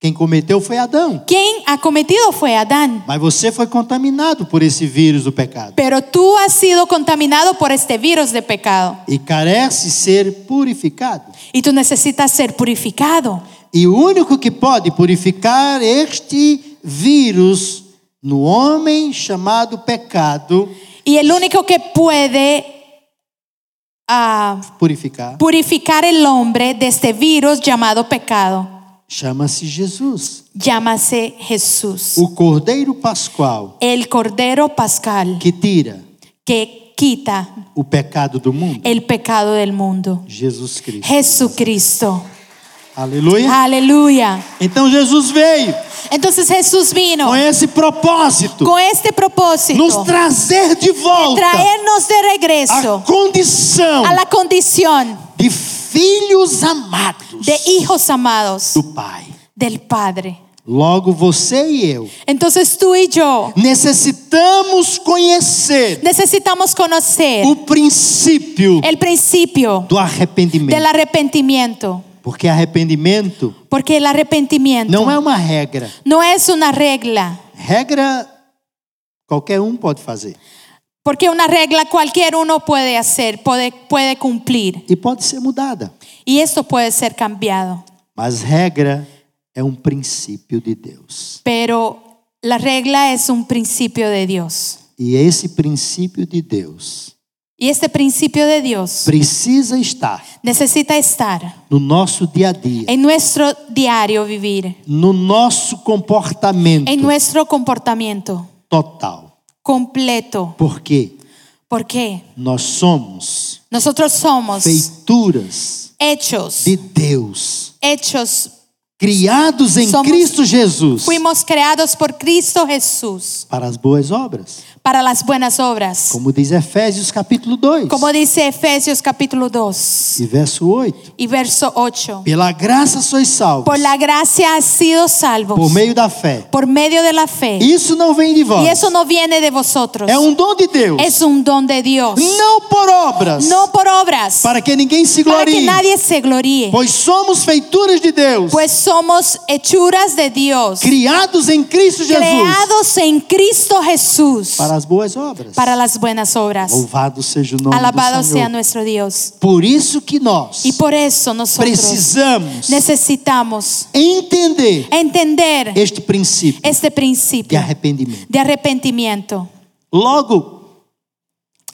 [SPEAKER 2] quem cometeu foi Adão.
[SPEAKER 3] quien ha cometido fue Adán.
[SPEAKER 2] Mas você foi contaminado por esse vírus do pecado.
[SPEAKER 3] Pero tú has sido contaminado por este virus de pecado
[SPEAKER 2] e carece ser purificado.
[SPEAKER 3] y tú necesitas ser purificado.
[SPEAKER 2] E o único que pode purificar este vírus no homem chamado pecado,
[SPEAKER 3] Y el único que puede ah,
[SPEAKER 2] purificar,
[SPEAKER 3] purificar el hombre de este virus llamado pecado
[SPEAKER 2] chama-se Jesus,
[SPEAKER 3] llámase Jesús,
[SPEAKER 2] o Cordeiro Pascual,
[SPEAKER 3] el Cordero Pascal
[SPEAKER 2] que tira
[SPEAKER 3] que quita
[SPEAKER 2] o pecado do mundo.
[SPEAKER 3] el pecado del mundo.
[SPEAKER 2] Jesus Cristo.
[SPEAKER 3] Jesucristo.
[SPEAKER 2] Aleluia.
[SPEAKER 3] Aleluya.
[SPEAKER 2] Então Jesus veio
[SPEAKER 3] Entonces Jesús vino
[SPEAKER 2] com esse propósito,
[SPEAKER 3] con este
[SPEAKER 2] nos
[SPEAKER 3] propósito,
[SPEAKER 2] trazer de volta
[SPEAKER 3] traernos de
[SPEAKER 2] a Ah,
[SPEAKER 3] regreso
[SPEAKER 2] condição
[SPEAKER 3] a la condición
[SPEAKER 2] de filhos amados
[SPEAKER 3] de hijos amados
[SPEAKER 2] do Pai.
[SPEAKER 3] del Padre.
[SPEAKER 2] Logo você e eu
[SPEAKER 3] Entonces tú y yo
[SPEAKER 2] necessitamos conhecer
[SPEAKER 3] necesitamos conocer
[SPEAKER 2] o princípio
[SPEAKER 3] el principio
[SPEAKER 2] do
[SPEAKER 3] del
[SPEAKER 2] arrependimento.
[SPEAKER 3] arrepentimiento,
[SPEAKER 2] Porque arrependimento
[SPEAKER 3] porque el arrepentimiento
[SPEAKER 2] não é uma regra.
[SPEAKER 3] no es una regla,
[SPEAKER 2] Regra qualquer um pode fazer.
[SPEAKER 3] porque una regla cualquier uno puede hacer, puede, puede cumplir,
[SPEAKER 2] E pode ser mudada.
[SPEAKER 3] y esto puede ser cambiado.
[SPEAKER 2] Mas regra é um princípio de Deus.
[SPEAKER 3] Pero la regla es un principio de Dios.
[SPEAKER 2] E esse princípio de Deus
[SPEAKER 3] Y este principio de Dios
[SPEAKER 2] precisa estar
[SPEAKER 3] necesita estar
[SPEAKER 2] no nosso dia a dia,
[SPEAKER 3] en nuestro diario vivir,
[SPEAKER 2] no nosso comportamento
[SPEAKER 3] en nuestro comportamiento
[SPEAKER 2] total.
[SPEAKER 3] completo.
[SPEAKER 2] Porque
[SPEAKER 3] ¿Por qué?
[SPEAKER 2] nós somos
[SPEAKER 3] Nosotros somos
[SPEAKER 2] feituras
[SPEAKER 3] hechos,
[SPEAKER 2] de Deus,
[SPEAKER 3] hechos,
[SPEAKER 2] criados em
[SPEAKER 3] Somos-
[SPEAKER 2] Cristo Jesus
[SPEAKER 3] fuimos creados por Cristo Jesús
[SPEAKER 2] para as boas obras,
[SPEAKER 3] para las buenas obras.
[SPEAKER 2] como diz Efésios capítulo 2
[SPEAKER 3] Como dice Efesios capítulo 2
[SPEAKER 2] e verso 8.
[SPEAKER 3] y verso 8.
[SPEAKER 2] Pela graça sois salvos,
[SPEAKER 3] Por la gracia has sido salvos
[SPEAKER 2] por meio da fé.
[SPEAKER 3] por medio de la fe.
[SPEAKER 2] Isso não vem de vós.
[SPEAKER 3] Y eso no viene de vosotros.
[SPEAKER 2] É um dom de Deus,
[SPEAKER 3] Es un don de Dios.
[SPEAKER 2] não por obras,
[SPEAKER 3] No por obras.
[SPEAKER 2] para que ninguém se
[SPEAKER 3] Para
[SPEAKER 2] glorie,
[SPEAKER 3] que nadie se gloríe.
[SPEAKER 2] pois somos feituras de Deus,
[SPEAKER 3] Pues somos hechuras de Dios.
[SPEAKER 2] criados em Cristo Jesus
[SPEAKER 3] Creados en Cristo Jesús.
[SPEAKER 2] para Oh, as boas obras.
[SPEAKER 3] Para las buenas obras.
[SPEAKER 2] Louvado seja o nome
[SPEAKER 3] Alabado
[SPEAKER 2] do Senhor.
[SPEAKER 3] sea nuestro Dios.
[SPEAKER 2] Por isso que nós
[SPEAKER 3] Y por eso nosotros
[SPEAKER 2] precisamos
[SPEAKER 3] necesitamos
[SPEAKER 2] entender
[SPEAKER 3] entender
[SPEAKER 2] este princípio
[SPEAKER 3] este
[SPEAKER 2] de
[SPEAKER 3] principio
[SPEAKER 2] arrependimento.
[SPEAKER 3] de arrepentimiento.
[SPEAKER 2] Logo,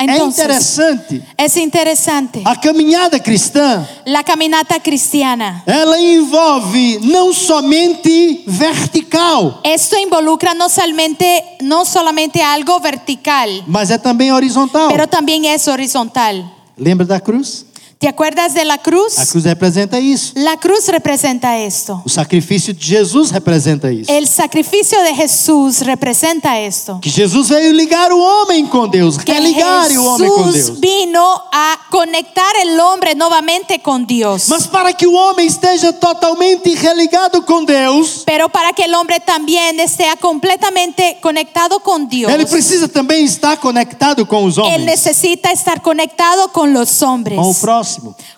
[SPEAKER 2] é
[SPEAKER 3] Entonces,
[SPEAKER 2] interessante,
[SPEAKER 3] es interesante.
[SPEAKER 2] a caminhada cristã,
[SPEAKER 3] La caminata cristiana.
[SPEAKER 2] ela envolve não somente vertical,
[SPEAKER 3] Esto involucra no solamente, no solamente algo vertical,
[SPEAKER 2] mas é também horizontal.
[SPEAKER 3] pero también es horizontal.
[SPEAKER 2] Lembra da cruz?
[SPEAKER 3] ¿Te acuerdas de la
[SPEAKER 2] A
[SPEAKER 3] cruz?
[SPEAKER 2] cruz representa isso.
[SPEAKER 3] La cruz representa esto.
[SPEAKER 2] O sacrifício de Jesus representa isso.
[SPEAKER 3] El sacrificio de Jesús representa esto.
[SPEAKER 2] Que Jesus veio ligar o homem com Deus,
[SPEAKER 3] Que
[SPEAKER 2] religar o homem com Deus.
[SPEAKER 3] Jesús vino a conectar el hombre nuevamente con Dios.
[SPEAKER 2] Mas para que o homem esteja totalmente religado com Deus,
[SPEAKER 3] Pero para que el hombre también esté completamente conectado con Dios,
[SPEAKER 2] ele precisa também estar conectado com os
[SPEAKER 3] él
[SPEAKER 2] homens,
[SPEAKER 3] necesita estar conectado con los hombres,
[SPEAKER 2] com o próximo,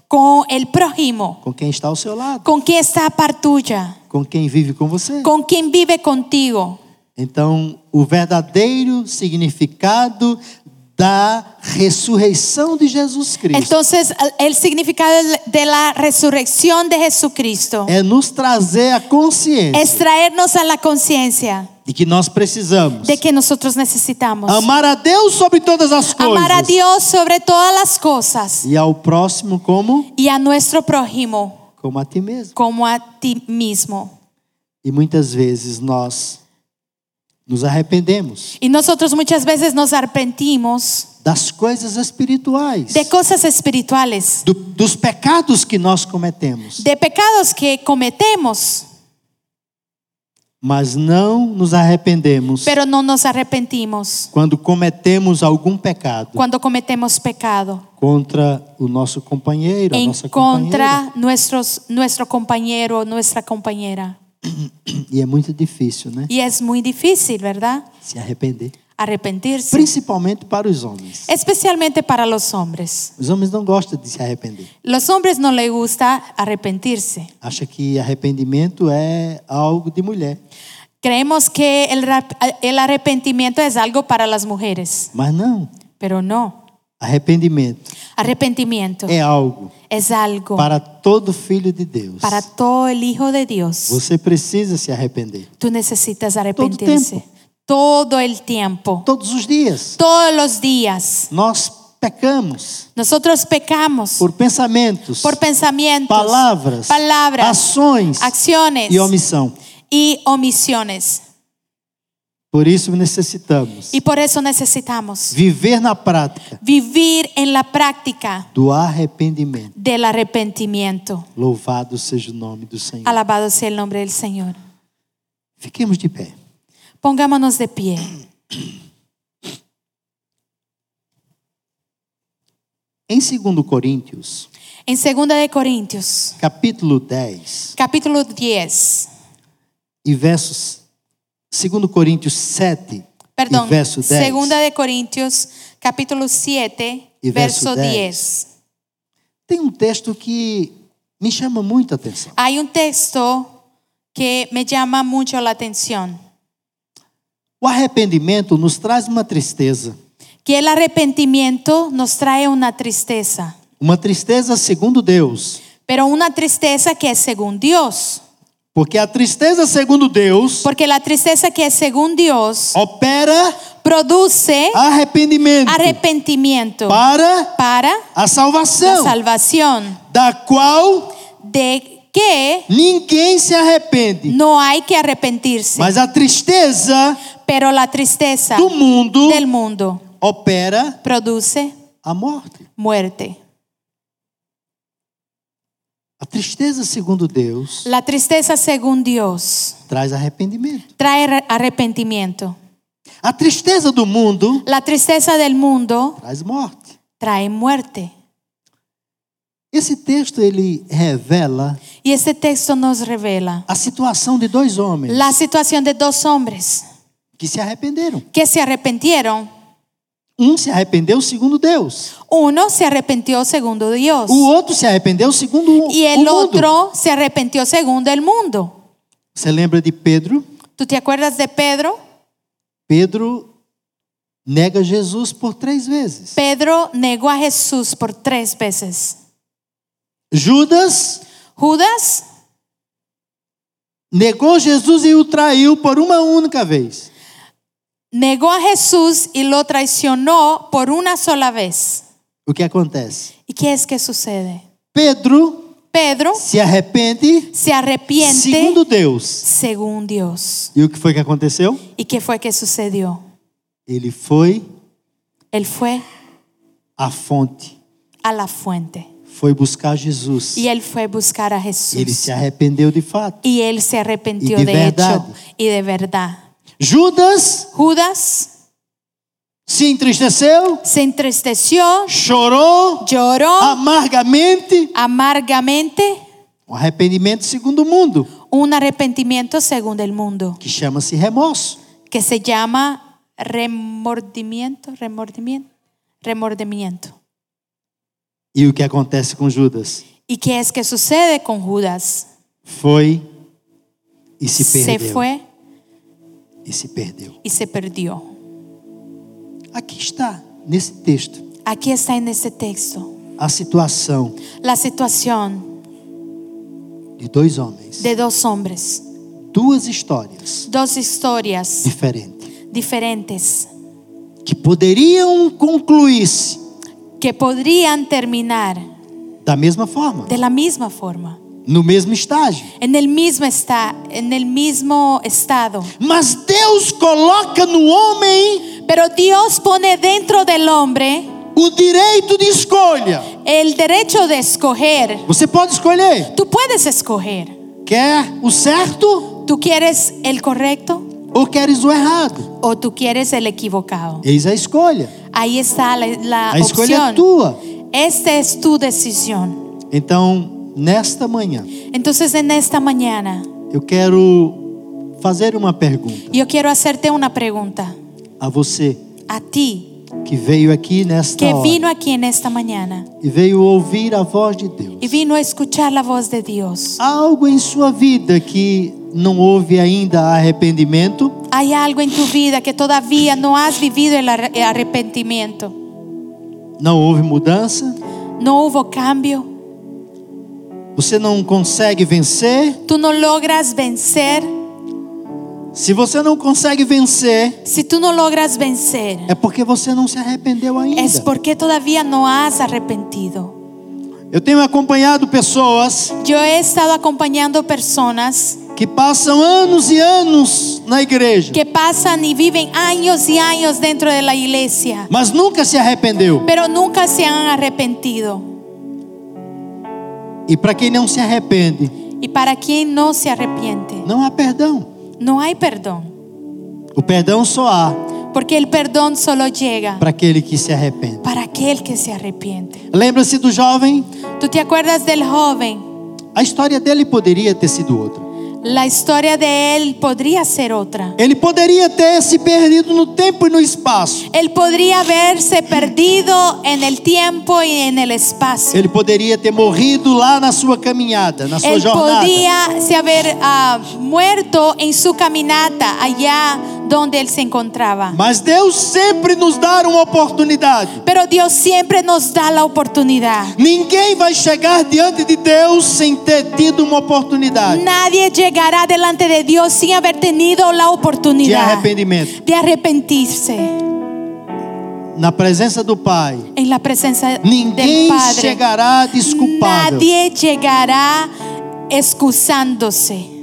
[SPEAKER 3] con el prójimo,
[SPEAKER 2] com quem está ao seu lado,
[SPEAKER 3] con quien está a par tuya,
[SPEAKER 2] com quem vive com você.
[SPEAKER 3] con quien vive contigo.
[SPEAKER 2] Então, o verdadeiro significado da ressurreição de Jesus Cristo
[SPEAKER 3] Entonces, el significado de la resurrección de Jesucristo
[SPEAKER 2] é nos trazer a consciência
[SPEAKER 3] es traernos a la conciencia
[SPEAKER 2] de que nós precisamos
[SPEAKER 3] é de que nosotros necesitamos
[SPEAKER 2] amar a Deus sobre todas as coisas
[SPEAKER 3] amar a Dios sobre todas las cosas
[SPEAKER 2] e ao próximo como
[SPEAKER 3] y a nuestro prójimo
[SPEAKER 2] como a ti mesmo.
[SPEAKER 3] como a ti mismo.
[SPEAKER 2] E muitas vezes nós nos arrependemos
[SPEAKER 3] Y nosotros muchas veces nos arrepentimos
[SPEAKER 2] das coisas espirituais,
[SPEAKER 3] de cosas espirituales,
[SPEAKER 2] do- dos pecados que nós cometemos,
[SPEAKER 3] de pecados que cometemos,
[SPEAKER 2] mas não nos arrependemos
[SPEAKER 3] pero no nos arrepentimos
[SPEAKER 2] quando cometemos algum pecado
[SPEAKER 3] cuando cometemos pecado
[SPEAKER 2] contra o nosso companheiro, a
[SPEAKER 3] en
[SPEAKER 2] nossa companheira.
[SPEAKER 3] contra nuestros, nuestro compañero o nuestra compañera.
[SPEAKER 2] E é muito difícil, né?
[SPEAKER 3] Y es muy difícil, ¿verdad?
[SPEAKER 2] Se arrepender,
[SPEAKER 3] Arrepentirse.
[SPEAKER 2] principalmente para os homens.
[SPEAKER 3] Especialmente para los hombres.
[SPEAKER 2] Os homens não gostam de se arrepender.
[SPEAKER 3] Los hombres no les gusta arrepentirse.
[SPEAKER 2] Acha que arrependimento é algo de mulher,
[SPEAKER 3] Creemos que el rap- el arrepentimiento es algo para las mujeres,
[SPEAKER 2] mas não.
[SPEAKER 3] pero no.
[SPEAKER 2] Arrependimento
[SPEAKER 3] Arrepentimiento
[SPEAKER 2] é algo
[SPEAKER 3] es algo para,
[SPEAKER 2] Eh, para todo filho de Deus.
[SPEAKER 3] todo el hijo de Dios.
[SPEAKER 2] Você precisa se arrepender.
[SPEAKER 3] Tú necesitas arrepentirse todo el tiempo,
[SPEAKER 2] Todos os dias.
[SPEAKER 3] todos los días.
[SPEAKER 2] Nós pecamos
[SPEAKER 3] Nosotros pecamos por,
[SPEAKER 2] por pensamentos,
[SPEAKER 3] pensamientos,
[SPEAKER 2] palavras,
[SPEAKER 3] palabras,
[SPEAKER 2] ações
[SPEAKER 3] acciones
[SPEAKER 2] e omissão.
[SPEAKER 3] y omisiones.
[SPEAKER 2] Por isso necessitamos
[SPEAKER 3] Y por eso necesitamos
[SPEAKER 2] viver na prática
[SPEAKER 3] vivir en la práctica
[SPEAKER 2] do arrependimento.
[SPEAKER 3] del arrepentimiento.
[SPEAKER 2] Louvado seja o nome do Senhor.
[SPEAKER 3] Alabado sea el nombre del Señor.
[SPEAKER 2] Fiquemos de pé.
[SPEAKER 3] Pongámonos de pie.
[SPEAKER 2] Em 2 Coríntios,
[SPEAKER 3] En 2 de Corintios,
[SPEAKER 2] capítulo 10,
[SPEAKER 3] capítulo 10.
[SPEAKER 2] e versos 2 Coríntios 7
[SPEAKER 3] Perdón,
[SPEAKER 2] e verso 10.
[SPEAKER 3] segunda de Corintios, capítulo 7,
[SPEAKER 2] Y
[SPEAKER 3] verso
[SPEAKER 2] verso
[SPEAKER 3] 10.
[SPEAKER 2] 10. Tem um texto que me chama muito a atenção.
[SPEAKER 3] Hay un texto que me llama mucho la atención,
[SPEAKER 2] O arrependimento nos traz uma tristeza,
[SPEAKER 3] que el arrepentimiento nos trae una tristeza,
[SPEAKER 2] uma tristeza segundo Deus,
[SPEAKER 3] pero una tristeza que es según Dios,
[SPEAKER 2] porque a tristeza segundo Deus
[SPEAKER 3] porque la tristeza que es según Dios
[SPEAKER 2] opera
[SPEAKER 3] produce
[SPEAKER 2] arrependimento
[SPEAKER 3] arrepentimiento
[SPEAKER 2] para
[SPEAKER 3] para
[SPEAKER 2] a
[SPEAKER 3] la
[SPEAKER 2] salvação,
[SPEAKER 3] salvación,
[SPEAKER 2] da qual
[SPEAKER 3] de que
[SPEAKER 2] ninguém se arrepende.
[SPEAKER 3] no hay que arrepentirse,
[SPEAKER 2] Mas a tristeza
[SPEAKER 3] pero la tristeza
[SPEAKER 2] do mundo
[SPEAKER 3] Tá. del mundo
[SPEAKER 2] opera
[SPEAKER 3] produce
[SPEAKER 2] a morte.
[SPEAKER 3] muerte.
[SPEAKER 2] A tristeza segundo Deus
[SPEAKER 3] La tristeza según Dios
[SPEAKER 2] traz arrependimento.
[SPEAKER 3] trae re- arrepentimiento.
[SPEAKER 2] A tristeza do mundo
[SPEAKER 3] La tristeza del mundo
[SPEAKER 2] traz morte.
[SPEAKER 3] trae muerte.
[SPEAKER 2] Esse texto ele revela
[SPEAKER 3] Y este texto nos revela
[SPEAKER 2] a situação de dois homens
[SPEAKER 3] la situación de dos hombres
[SPEAKER 2] que se arrependeram.
[SPEAKER 3] que se arrepintieron.
[SPEAKER 2] Um se arrependeu segundo Deus.
[SPEAKER 3] Uno se arrepintió según Dios
[SPEAKER 2] O outro se arrependeu segundo o-
[SPEAKER 3] y
[SPEAKER 2] o
[SPEAKER 3] el
[SPEAKER 2] mundo.
[SPEAKER 3] otro se arrepintió según el mundo.
[SPEAKER 2] Você lembra de Pedro?
[SPEAKER 3] ¿Tú te acuerdas de Pedro?
[SPEAKER 2] Pedro nega Jesus por três vezes.
[SPEAKER 3] Pedro negó a Jesús por tres veces.
[SPEAKER 2] Judas
[SPEAKER 3] Judas
[SPEAKER 2] negou Jesus e o traiu por uma única vez.
[SPEAKER 3] negó a Jesús y lo traicionó por una sola vez.
[SPEAKER 2] O que acontece?
[SPEAKER 3] ¿Y qué es que sucede?
[SPEAKER 2] Pedro
[SPEAKER 3] Pedro
[SPEAKER 2] se arrepende
[SPEAKER 3] se arrepiente
[SPEAKER 2] segundo Deus.
[SPEAKER 3] según Dios.
[SPEAKER 2] E o que foi que aconteceu?
[SPEAKER 3] ¿Y qué fue que sucedió?
[SPEAKER 2] Ele foi
[SPEAKER 3] Él fue
[SPEAKER 2] à fonte,
[SPEAKER 3] a la fuente,
[SPEAKER 2] foi buscar Jesus.
[SPEAKER 3] Y él fue a buscar a
[SPEAKER 2] Ele
[SPEAKER 3] Jesús.
[SPEAKER 2] se arrependeu de fato.
[SPEAKER 3] Y él se arrepintió
[SPEAKER 2] Y de
[SPEAKER 3] de,
[SPEAKER 2] verdad.
[SPEAKER 3] hecho y de verdad.
[SPEAKER 2] Judas
[SPEAKER 3] Judas
[SPEAKER 2] se entristeceu,
[SPEAKER 3] se entristeció,
[SPEAKER 2] chorou
[SPEAKER 3] lloró
[SPEAKER 2] Ah. amargamente.
[SPEAKER 3] amargamente.
[SPEAKER 2] Um arrependimento segundo o mundo,
[SPEAKER 3] Un arrepentimiento según el mundo,
[SPEAKER 2] que chama-se remorso.
[SPEAKER 3] que se llama remordimiento, remordimiento, remordimiento.
[SPEAKER 2] E o que acontece com Judas?
[SPEAKER 3] ¿Y qué es que sucede con Judas?
[SPEAKER 2] Foi e se
[SPEAKER 3] Se
[SPEAKER 2] perdeu.
[SPEAKER 3] fue
[SPEAKER 2] E se perdeu.
[SPEAKER 3] y se perdió.
[SPEAKER 2] Aqui está, nesse texto,
[SPEAKER 3] Aquí está en este texto
[SPEAKER 2] a situação
[SPEAKER 3] la situación
[SPEAKER 2] de dois homens,
[SPEAKER 3] de dos hombres,
[SPEAKER 2] duas histórias
[SPEAKER 3] dos historias
[SPEAKER 2] diferentes,
[SPEAKER 3] diferentes
[SPEAKER 2] que poderiam concluir-se
[SPEAKER 3] que podrían terminar
[SPEAKER 2] da mesma forma,
[SPEAKER 3] de la misma forma,
[SPEAKER 2] no mesmo estágio.
[SPEAKER 3] en el mismo, esta- en el mismo estado.
[SPEAKER 2] Mas Deus coloca no homem
[SPEAKER 3] Pero Dios pone dentro del hombre
[SPEAKER 2] o direito de escolha.
[SPEAKER 3] el derecho de escoger.
[SPEAKER 2] Você pode escolher.
[SPEAKER 3] Tú puedes escoger.
[SPEAKER 2] Quer o certo
[SPEAKER 3] Tú quieres el correcto
[SPEAKER 2] ou queres o errado?
[SPEAKER 3] o tú quieres el equivocado.
[SPEAKER 2] Eis a escolha.
[SPEAKER 3] Ahí está la, la
[SPEAKER 2] A escolha é
[SPEAKER 3] opción.
[SPEAKER 2] tua.
[SPEAKER 3] Esta es tu decisión.
[SPEAKER 2] Então, nesta manhã,
[SPEAKER 3] Entonces en esta mañana
[SPEAKER 2] eu quero fazer uma pergunta
[SPEAKER 3] yo quiero hacerte una pregunta
[SPEAKER 2] a você
[SPEAKER 3] a ti
[SPEAKER 2] que veio aqui nesta
[SPEAKER 3] que
[SPEAKER 2] hora
[SPEAKER 3] vino aquí en esta mañana
[SPEAKER 2] e veio ouvir a voz de Deus.
[SPEAKER 3] y vino a escuchar la voz de Dios.
[SPEAKER 2] Há algo em sua vida que não houve ainda arrependimento?
[SPEAKER 3] Hay algo en tu vida que todavía no has vivido el ar- el arrepentimiento.
[SPEAKER 2] Não houve mudança?
[SPEAKER 3] No hubo cambio.
[SPEAKER 2] Você não consegue vencer?
[SPEAKER 3] Tú no logras vencer.
[SPEAKER 2] Se você não consegue vencer,
[SPEAKER 3] Si tú no logras vencer,
[SPEAKER 2] é porque você não se arrependeu ainda.
[SPEAKER 3] es porque todavía no has arrepentido.
[SPEAKER 2] Eu tenho acompanhado pessoas
[SPEAKER 3] Yo he estado acompañando personas
[SPEAKER 2] que passam anos e anos na igreja,
[SPEAKER 3] que pasan y viven años y años dentro de la iglesia,
[SPEAKER 2] mas nunca se arrependeu.
[SPEAKER 3] pero nunca se han arrepentido.
[SPEAKER 2] E para quem não se arrepende,
[SPEAKER 3] Y para quien no se arrepiente,
[SPEAKER 2] não há perdão.
[SPEAKER 3] no hay perdón,
[SPEAKER 2] O perdão só há
[SPEAKER 3] porque el perdón solo llega
[SPEAKER 2] para aquele que se arrepende.
[SPEAKER 3] para aquel que se arrepiente.
[SPEAKER 2] Lembra-se do jovem?
[SPEAKER 3] ¿Tú te acuerdas del joven?
[SPEAKER 2] A história dele poderia ter sido outra.
[SPEAKER 3] La historia de él podría ser otra.
[SPEAKER 2] Ele poderia ter se perdido no tempo e no espaço.
[SPEAKER 3] Él podría haberse perdido en el tiempo y en el espacio.
[SPEAKER 2] Ele poderia ter morrido lá na sua caminhada, na sua
[SPEAKER 3] Él
[SPEAKER 2] jornada.
[SPEAKER 3] podía se haber ah, muerto en su caminata allá donde él se encontraba.
[SPEAKER 2] Mas Deus sempre nos dá uma oportunidade.
[SPEAKER 3] Pero Dios siempre nos da la oportunidad.
[SPEAKER 2] Ninguém vai chegar diante de Deus sem ter tido uma oportunidade
[SPEAKER 3] Nadie llegará delante de Dios sin haber tenido la
[SPEAKER 2] de
[SPEAKER 3] oportunidad
[SPEAKER 2] arrependimento.
[SPEAKER 3] de arrepentirse
[SPEAKER 2] Na presença do Pai,
[SPEAKER 3] en la presencia del
[SPEAKER 2] ninguém
[SPEAKER 3] Padre.
[SPEAKER 2] chegará desculpável,
[SPEAKER 3] Nadie llegará excusándose,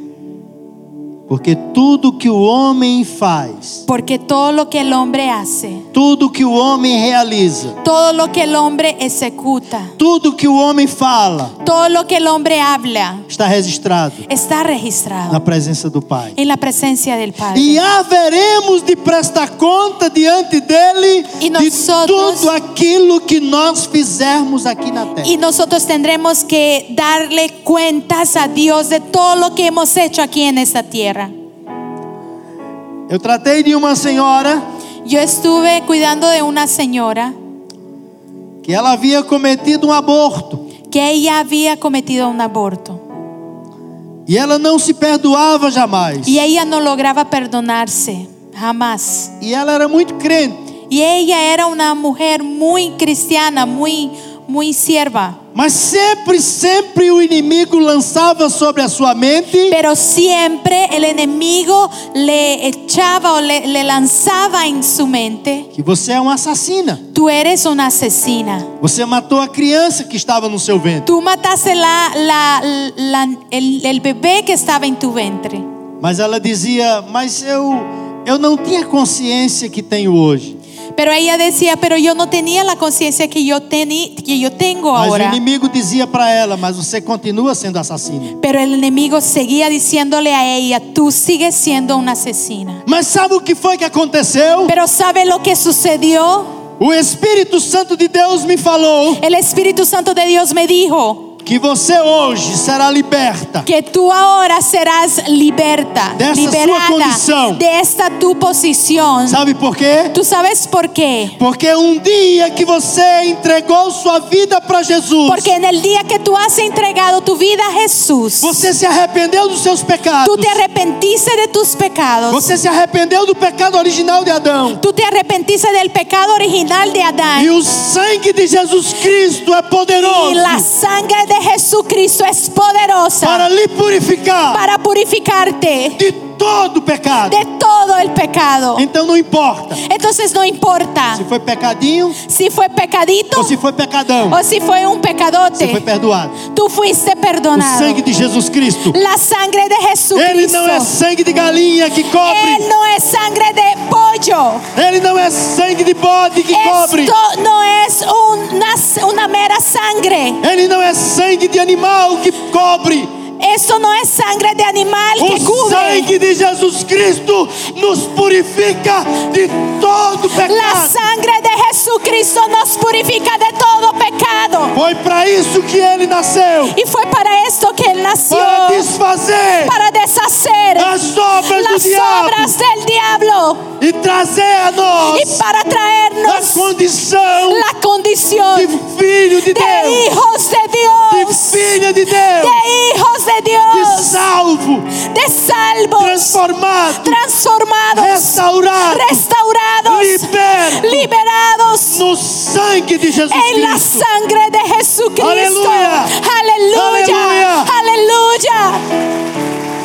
[SPEAKER 2] porque tudo que o homem faz,
[SPEAKER 3] porque todo lo que el hombre hace,
[SPEAKER 2] tudo que o homem realiza,
[SPEAKER 3] todo lo que el hombre ejecuta,
[SPEAKER 2] tudo que o homem fala,
[SPEAKER 3] todo lo que el hombre habla,
[SPEAKER 2] está registrado
[SPEAKER 3] está
[SPEAKER 2] na
[SPEAKER 3] registrado
[SPEAKER 2] presença do Pai.
[SPEAKER 3] en la presencia del Padre.
[SPEAKER 2] E haveremos de prestar conta diante dele de
[SPEAKER 3] E nós outros-
[SPEAKER 2] tudo aquilo que nós fizermos aqui na terra.
[SPEAKER 3] Y nosotros tendremos que darle cuentas a Dios de todo lo que hemos hecho aquí en esta tierra.
[SPEAKER 2] Eu tratei de uma senhora
[SPEAKER 3] Yo estuve cuidando de una señora
[SPEAKER 2] que ela havia cometido um aborto
[SPEAKER 3] que ella había cometido un aborto
[SPEAKER 2] e ela não se perdoava jamais.
[SPEAKER 3] y ella no lograba perdonarse jamás.
[SPEAKER 2] E ela era muito crente,
[SPEAKER 3] Y ella era una mujer muy cristiana, muy muy sierva,
[SPEAKER 2] mas sempre, sempre o inimigo lançava sobre a sua mente
[SPEAKER 3] pero siempre el enemigo le echaba o le, le lanzaba en su mente,
[SPEAKER 2] que você é uma assassina.
[SPEAKER 3] tú eres una asesina.
[SPEAKER 2] Você matou a criança que estava no seu ventre.
[SPEAKER 3] Tú mataste la, la- la- el, el bebé que estaba en tu ventre.
[SPEAKER 2] Mas ela dizia: "Mas eu eu não tinha consciência que tenho hoje".
[SPEAKER 3] Pero ella decía, pero yo no tenía la conciencia que yo, teni- que yo tengo
[SPEAKER 2] Mas o
[SPEAKER 3] ahora.
[SPEAKER 2] inimigo dizia para ela: Mas você continua sendo assassina.
[SPEAKER 3] Pero el enemigo seguía diciéndole a ella, tú sigues siendo una asesina.
[SPEAKER 2] Mas sabe o que foi que aconteceu?
[SPEAKER 3] Pero ¿sabe lo que sucedió?
[SPEAKER 2] O Espírito Santo de Deus me falou
[SPEAKER 3] El Espíritu Santo de Dios me dijo
[SPEAKER 2] que você hoje será liberta.
[SPEAKER 3] que tú ahora serás liberta,
[SPEAKER 2] De esa su
[SPEAKER 3] liberada
[SPEAKER 2] condición.
[SPEAKER 3] de esta tu posición.
[SPEAKER 2] Sabe por quê?
[SPEAKER 3] ¿Tú sabes por qué?
[SPEAKER 2] Porque um dia que você entregou sua vida para Jesus,
[SPEAKER 3] Porque en el día que tú has entregado tu vida a Jesús,
[SPEAKER 2] você se arrependeu dos seus pecados.
[SPEAKER 3] tú te arrepentiste de tus pecados.
[SPEAKER 2] Você se arrependeu do pecado original de Adão.
[SPEAKER 3] Tú te arrepentiste del pecado original de
[SPEAKER 2] E
[SPEAKER 3] Adán.
[SPEAKER 2] o sangue de Jesus Cristo é
[SPEAKER 3] Y
[SPEAKER 2] poderoso
[SPEAKER 3] la sangre de Jesucristo es poderosa
[SPEAKER 2] para lhe purificar
[SPEAKER 3] para purificarte
[SPEAKER 2] de todo pecado.
[SPEAKER 3] de todo el pecado.
[SPEAKER 2] Então não importa
[SPEAKER 3] Entonces no importa
[SPEAKER 2] se foi pecadinho
[SPEAKER 3] si fue pecadito
[SPEAKER 2] ou se foi pecadão,
[SPEAKER 3] o si fue un
[SPEAKER 2] você foi
[SPEAKER 3] pecadote.
[SPEAKER 2] perdoado.
[SPEAKER 3] Tú fuiste
[SPEAKER 2] O
[SPEAKER 3] perdonado.
[SPEAKER 2] sangue de Jesus Cristo,
[SPEAKER 3] La sangre de
[SPEAKER 2] ele não é
[SPEAKER 3] Jesucristo.
[SPEAKER 2] sangue de galinha que
[SPEAKER 3] Él
[SPEAKER 2] cobre,
[SPEAKER 3] no es sangre de pollo.
[SPEAKER 2] ele não é sangue de bode que cobre,
[SPEAKER 3] Esto no es una, una mera sangre.
[SPEAKER 2] ele não é sangue de animal que cobre.
[SPEAKER 3] Esto no es sangre de animal que
[SPEAKER 2] O
[SPEAKER 3] cubre.
[SPEAKER 2] sangue de Jesus Cristo nos purifica de todo
[SPEAKER 3] La
[SPEAKER 2] pecado.
[SPEAKER 3] sangre de Jesucristo nos purifica de todo pecado.
[SPEAKER 2] Foi para isso que ele nasceu
[SPEAKER 3] Y fue para esto que Él nació,
[SPEAKER 2] para desfazer
[SPEAKER 3] para deshacer
[SPEAKER 2] as obras do
[SPEAKER 3] las
[SPEAKER 2] diabo
[SPEAKER 3] obras del diablo
[SPEAKER 2] e trazer a
[SPEAKER 3] y
[SPEAKER 2] nós
[SPEAKER 3] para
[SPEAKER 2] a
[SPEAKER 3] traernos
[SPEAKER 2] condição
[SPEAKER 3] la condición
[SPEAKER 2] de
[SPEAKER 3] de
[SPEAKER 2] filho de Deus,
[SPEAKER 3] hijos de
[SPEAKER 2] de
[SPEAKER 3] Dios,
[SPEAKER 2] filha de Deus,
[SPEAKER 3] de hijos de
[SPEAKER 2] de
[SPEAKER 3] Dios,
[SPEAKER 2] salvo,
[SPEAKER 3] de salvos,
[SPEAKER 2] transformado,
[SPEAKER 3] transformados,
[SPEAKER 2] restaurado,
[SPEAKER 3] restaurados,
[SPEAKER 2] liberto
[SPEAKER 3] liberados
[SPEAKER 2] no sangue de Jesus
[SPEAKER 3] en la
[SPEAKER 2] Cristo.
[SPEAKER 3] sangre de Jesucristo.
[SPEAKER 2] Aleluya.
[SPEAKER 3] Aleluya.
[SPEAKER 2] Aleluya.
[SPEAKER 3] Aleluya.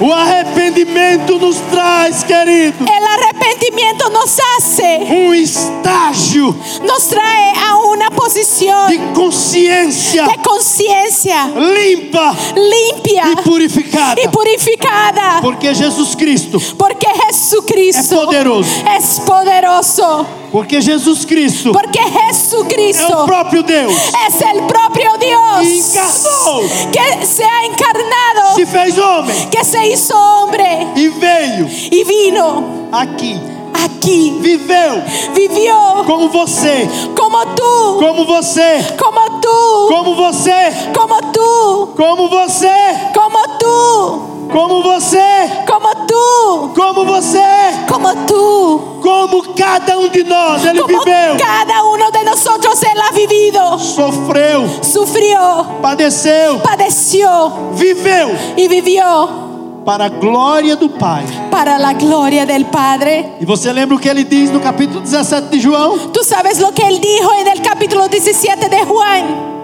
[SPEAKER 2] O arrependimento nos traz, querido,
[SPEAKER 3] El arrepentimiento nos hace,
[SPEAKER 2] um estágio
[SPEAKER 3] nos trae a una posición
[SPEAKER 2] de consciência
[SPEAKER 3] de conciencia
[SPEAKER 2] limpa
[SPEAKER 3] limpia
[SPEAKER 2] e purificada.
[SPEAKER 3] y purificada.
[SPEAKER 2] Porque Jesus Cristo,
[SPEAKER 3] Porque
[SPEAKER 2] É
[SPEAKER 3] Jesucristo
[SPEAKER 2] poderoso.
[SPEAKER 3] es poderoso.
[SPEAKER 2] porque Jesus Cristo
[SPEAKER 3] Porque
[SPEAKER 2] é o
[SPEAKER 3] Jesucristo
[SPEAKER 2] próprio Deus,
[SPEAKER 3] es el propio Dios
[SPEAKER 2] Encarnó.
[SPEAKER 3] que se ha encarnado,
[SPEAKER 2] se fez homem
[SPEAKER 3] que se hizo hombre
[SPEAKER 2] e veio
[SPEAKER 3] y vino
[SPEAKER 2] aqui,
[SPEAKER 3] aquí,
[SPEAKER 2] viveu
[SPEAKER 3] vivió
[SPEAKER 2] como você,
[SPEAKER 3] como tú,
[SPEAKER 2] como você,
[SPEAKER 3] como tú,
[SPEAKER 2] como você,
[SPEAKER 3] como tú,
[SPEAKER 2] como você,
[SPEAKER 3] como tú,
[SPEAKER 2] como você,
[SPEAKER 3] como tú,
[SPEAKER 2] como você,
[SPEAKER 3] como tú,
[SPEAKER 2] como cada um de nós, ele
[SPEAKER 3] como
[SPEAKER 2] viveu,
[SPEAKER 3] cada uno de nosotros él ha vivido,
[SPEAKER 2] sofreu,
[SPEAKER 3] sufrió,
[SPEAKER 2] padeceu,
[SPEAKER 3] padeció
[SPEAKER 2] viveu
[SPEAKER 3] y vivió
[SPEAKER 2] para a glória do Pai.
[SPEAKER 3] para la gloria del Padre.
[SPEAKER 2] E você lembra o que ele diz no capítulo 17 de João?
[SPEAKER 3] Tú sabes lo que él dijo en el capítulo 17 de Juan,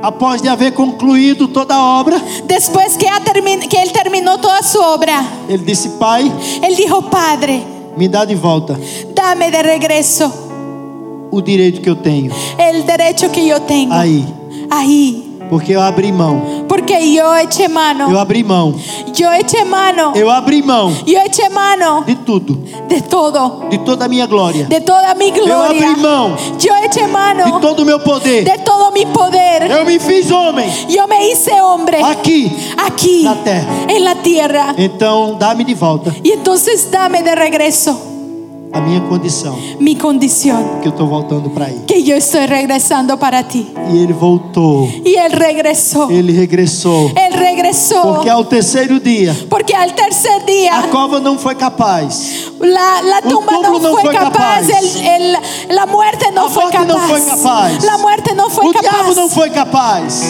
[SPEAKER 2] Após de haver concluído toda a obra,
[SPEAKER 3] después que, ha termin- que él terminó toda su obra.
[SPEAKER 2] ele disse: Pai,
[SPEAKER 3] Él dijo, Padre,
[SPEAKER 2] me dá de volta
[SPEAKER 3] dame de regreso
[SPEAKER 2] o direito que eu tenho
[SPEAKER 3] el derecho que yo tengo
[SPEAKER 2] aí,
[SPEAKER 3] ahí,
[SPEAKER 2] porque eu abri mão,
[SPEAKER 3] porque yo eché
[SPEAKER 2] eu
[SPEAKER 3] mano,
[SPEAKER 2] abri mão,
[SPEAKER 3] yo eché mano,
[SPEAKER 2] eu abri mão
[SPEAKER 3] yo eché mano
[SPEAKER 2] de tudo,
[SPEAKER 3] de todo,
[SPEAKER 2] de toda a minha glória,
[SPEAKER 3] de toda mi
[SPEAKER 2] eu
[SPEAKER 3] gloria,
[SPEAKER 2] abri mão
[SPEAKER 3] yo eché
[SPEAKER 2] de
[SPEAKER 3] mano
[SPEAKER 2] todo o meu poder,
[SPEAKER 3] de todo mi poder,
[SPEAKER 2] eu me fiz homem
[SPEAKER 3] yo me hice hombre
[SPEAKER 2] aqui.
[SPEAKER 3] aquí,
[SPEAKER 2] La tierra.
[SPEAKER 3] en la tierra,
[SPEAKER 2] Então, dá-me de volta
[SPEAKER 3] y entonces dame de regreso.
[SPEAKER 2] a minha condição,
[SPEAKER 3] mi condición,
[SPEAKER 2] que eu estou voltando para aí.
[SPEAKER 3] que yo estoy regresando para ti.
[SPEAKER 2] E ele voltou,
[SPEAKER 3] Y él regresó,
[SPEAKER 2] ele regressou,
[SPEAKER 3] él regresó,
[SPEAKER 2] porque ao terceiro dia
[SPEAKER 3] porque al tercer
[SPEAKER 2] a
[SPEAKER 3] día
[SPEAKER 2] cova não foi capaz,
[SPEAKER 3] la, la
[SPEAKER 2] Un
[SPEAKER 3] tumba
[SPEAKER 2] pueblo
[SPEAKER 3] no
[SPEAKER 2] no
[SPEAKER 3] fue
[SPEAKER 2] fue
[SPEAKER 3] capaz,
[SPEAKER 2] capaz.
[SPEAKER 3] el- el- la muerte no
[SPEAKER 2] La
[SPEAKER 3] fue
[SPEAKER 2] muerte no fue
[SPEAKER 3] capaz,
[SPEAKER 2] capaz.
[SPEAKER 3] la muerte no fue
[SPEAKER 2] o diabo não
[SPEAKER 3] capaz.
[SPEAKER 2] foi capaz.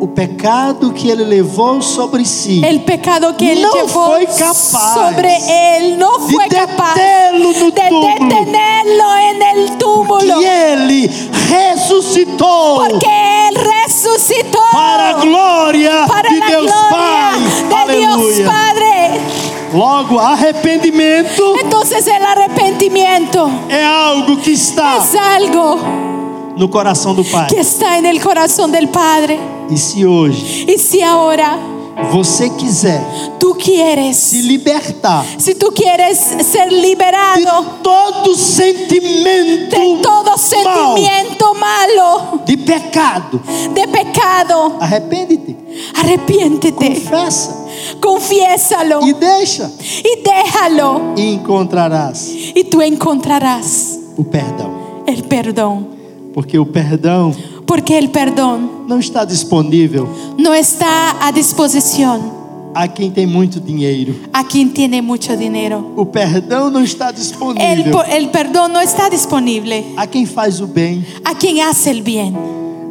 [SPEAKER 2] O pecado que ele levou sobre si
[SPEAKER 3] El pecado que él
[SPEAKER 2] No
[SPEAKER 3] llevó
[SPEAKER 2] fue capaz
[SPEAKER 3] sobre él no
[SPEAKER 2] de
[SPEAKER 3] fue capaz
[SPEAKER 2] detenerlo en un
[SPEAKER 3] de
[SPEAKER 2] túmulo.
[SPEAKER 3] detenerlo en el túmulo,
[SPEAKER 2] que ele ressuscitou
[SPEAKER 3] porque él resucitó
[SPEAKER 2] para a glória
[SPEAKER 3] para
[SPEAKER 2] de
[SPEAKER 3] la
[SPEAKER 2] Deus
[SPEAKER 3] gloria de
[SPEAKER 2] Pai.
[SPEAKER 3] Dios
[SPEAKER 2] Aleluia.
[SPEAKER 3] Padre.
[SPEAKER 2] Logo, arrependimento
[SPEAKER 3] Entonces el arrepentimiento
[SPEAKER 2] é algo que está
[SPEAKER 3] es algo
[SPEAKER 2] no coração do Pai.
[SPEAKER 3] que está en el corazón del Padre.
[SPEAKER 2] E se hoje
[SPEAKER 3] Y si ahora
[SPEAKER 2] você quiser
[SPEAKER 3] Tú quieres.
[SPEAKER 2] se libertar
[SPEAKER 3] Si tú quieres ser
[SPEAKER 2] de
[SPEAKER 3] liberado
[SPEAKER 2] todo sentimento
[SPEAKER 3] de todo
[SPEAKER 2] mal,
[SPEAKER 3] sentimiento malo,
[SPEAKER 2] de pecado,
[SPEAKER 3] de pecado,
[SPEAKER 2] arrepende-te,
[SPEAKER 3] arrepiéntete,
[SPEAKER 2] confessa
[SPEAKER 3] confiésalo
[SPEAKER 2] e deixa
[SPEAKER 3] y déjalo.
[SPEAKER 2] e encontrarás
[SPEAKER 3] Y tú encontrarás
[SPEAKER 2] o perdão,
[SPEAKER 3] el perdón.
[SPEAKER 2] porque o perdão
[SPEAKER 3] Porque el perdón
[SPEAKER 2] não está disponível
[SPEAKER 3] no está a disposición
[SPEAKER 2] a quem tem muito dinheiro.
[SPEAKER 3] a quien tiene mucho dinero.
[SPEAKER 2] O perdão não está
[SPEAKER 3] El,
[SPEAKER 2] disponível
[SPEAKER 3] po- el perdón no está disponible
[SPEAKER 2] a quem faz o bem,
[SPEAKER 3] a quien hace el bien.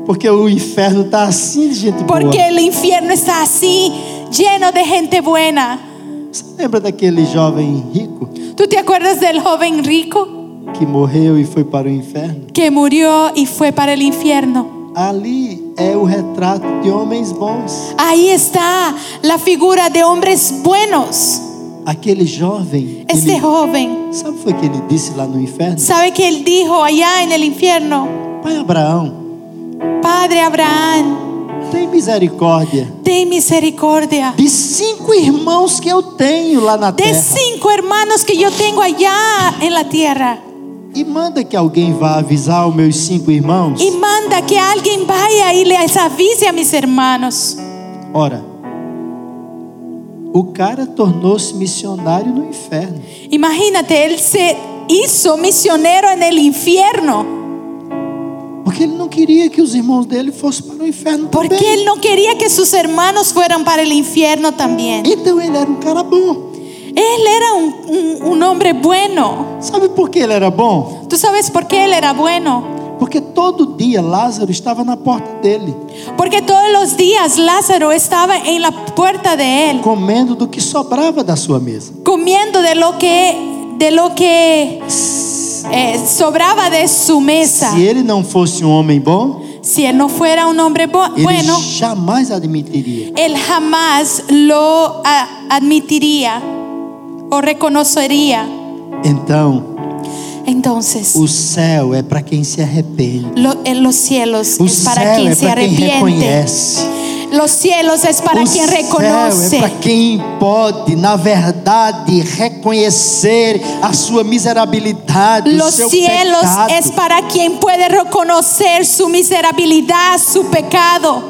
[SPEAKER 2] porque o inferno está assim de gente boa.
[SPEAKER 3] Porque el infierno está así, lleno de gente buena.
[SPEAKER 2] Você lembra daquele jovem rico
[SPEAKER 3] ¿Tú te acuerdas del joven rico
[SPEAKER 2] que morreu e foi para o inferno?
[SPEAKER 3] que murió y fue para el infierno?
[SPEAKER 2] Ali é o retrato de homens bons.
[SPEAKER 3] Ahí está la figura de hombres buenos.
[SPEAKER 2] Aquele jovem,
[SPEAKER 3] Este
[SPEAKER 2] ele-
[SPEAKER 3] joven,
[SPEAKER 2] sabe foi que ele disse lá no inferno?
[SPEAKER 3] ¿sabe que él dijo allá en el infierno?
[SPEAKER 2] Pai Abraão,
[SPEAKER 3] Padre Abraham,
[SPEAKER 2] tem misericórdia
[SPEAKER 3] ten misericordia
[SPEAKER 2] de cinco irmãos que eu tenho lá na
[SPEAKER 3] de
[SPEAKER 2] terra
[SPEAKER 3] cinco hermanos que yo tengo allá en la tierra.
[SPEAKER 2] e manda que alguém vá avisar os meus cinco irmãos.
[SPEAKER 3] Y manda que alguien vaya y les avise a mis hermanos.
[SPEAKER 2] Ora, o cara tornou-se missionário no inferno.
[SPEAKER 3] Imagínate, él se hizo misionero en el infierno
[SPEAKER 2] Porque ele não queria que os irmãos dele fossem para o inferno
[SPEAKER 3] porque
[SPEAKER 2] também.
[SPEAKER 3] él no quería que sus hermanos fueran para el infierno también.
[SPEAKER 2] Então ele era um cara bom.
[SPEAKER 3] Él era un, un- un hombre bueno.
[SPEAKER 2] Sabe por que ele era bom?
[SPEAKER 3] ¿Tú sabes por qué él era bueno?
[SPEAKER 2] Porque todo dia Lázaro estava na porta dele,
[SPEAKER 3] Porque todos los días Lázaro estaba en la puerta de él,
[SPEAKER 2] comendo do que sobrava da sua mesa.
[SPEAKER 3] comiendo de lo que, de lo que eh, sobraba de su mesa.
[SPEAKER 2] Se ele não fosse um homem bom,
[SPEAKER 3] Si él no fuera un hombre bo-
[SPEAKER 2] ele
[SPEAKER 3] bueno,
[SPEAKER 2] jamais admitiria.
[SPEAKER 3] él jamás lo ah, admitiría o reconocería.
[SPEAKER 2] Então,
[SPEAKER 3] Entonces,
[SPEAKER 2] o céu é para quem se arrepende.
[SPEAKER 3] lo- en los cielos
[SPEAKER 2] O
[SPEAKER 3] es
[SPEAKER 2] céu
[SPEAKER 3] para quien
[SPEAKER 2] é
[SPEAKER 3] se
[SPEAKER 2] para quem
[SPEAKER 3] arrepiente.
[SPEAKER 2] reconhece.
[SPEAKER 3] Los cielos es para
[SPEAKER 2] o céu
[SPEAKER 3] quien
[SPEAKER 2] é para
[SPEAKER 3] reconoce.
[SPEAKER 2] quem pode, na verdade, reconhecer a sua miserabilidade, o
[SPEAKER 3] Los
[SPEAKER 2] seu
[SPEAKER 3] cielos
[SPEAKER 2] pecado.
[SPEAKER 3] es para quien puede reconocer su miserabilidad, su pecado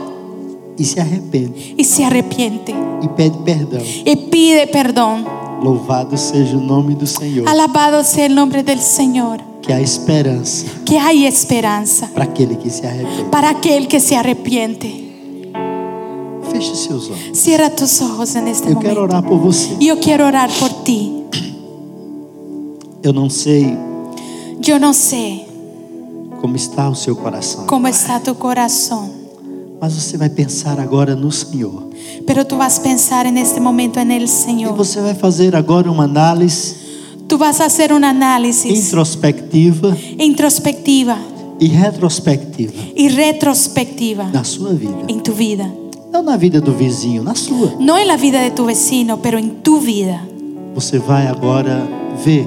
[SPEAKER 2] E se arrepende
[SPEAKER 3] y se arrepiente
[SPEAKER 2] e pede perdão.
[SPEAKER 3] y pide perdón.
[SPEAKER 2] Louvado seja o nome do Senhor,
[SPEAKER 3] Alabado sea el nombre del Señor,
[SPEAKER 2] que há esperança
[SPEAKER 3] que hay esperanza
[SPEAKER 2] para aquele que se arrepende.
[SPEAKER 3] para aquel que se arrepiente.
[SPEAKER 2] Feche os seus olhos.
[SPEAKER 3] Cierra tus ojos en este
[SPEAKER 2] Eu quero
[SPEAKER 3] momento.
[SPEAKER 2] orar por você.
[SPEAKER 3] Yo quiero orar por ti.
[SPEAKER 2] Eu não sei
[SPEAKER 3] Yo no sé
[SPEAKER 2] como está o seu coração,
[SPEAKER 3] cómo está tu corazón,
[SPEAKER 2] mas você vai pensar agora no Senhor.
[SPEAKER 3] pero tú vas a pensar en este momento en el
[SPEAKER 2] E
[SPEAKER 3] Señor.
[SPEAKER 2] você vai fazer agora uma análise
[SPEAKER 3] Tú vas a hacer un análisis
[SPEAKER 2] introspectiva
[SPEAKER 3] introspectiva
[SPEAKER 2] e retrospectiva
[SPEAKER 3] y retrospectiva
[SPEAKER 2] na sua vida.
[SPEAKER 3] en tu vida.
[SPEAKER 2] Não na vida do vizinho, na sua.
[SPEAKER 3] No en la vida de tu vecino, pero en tu vida.
[SPEAKER 2] Você vai agora ver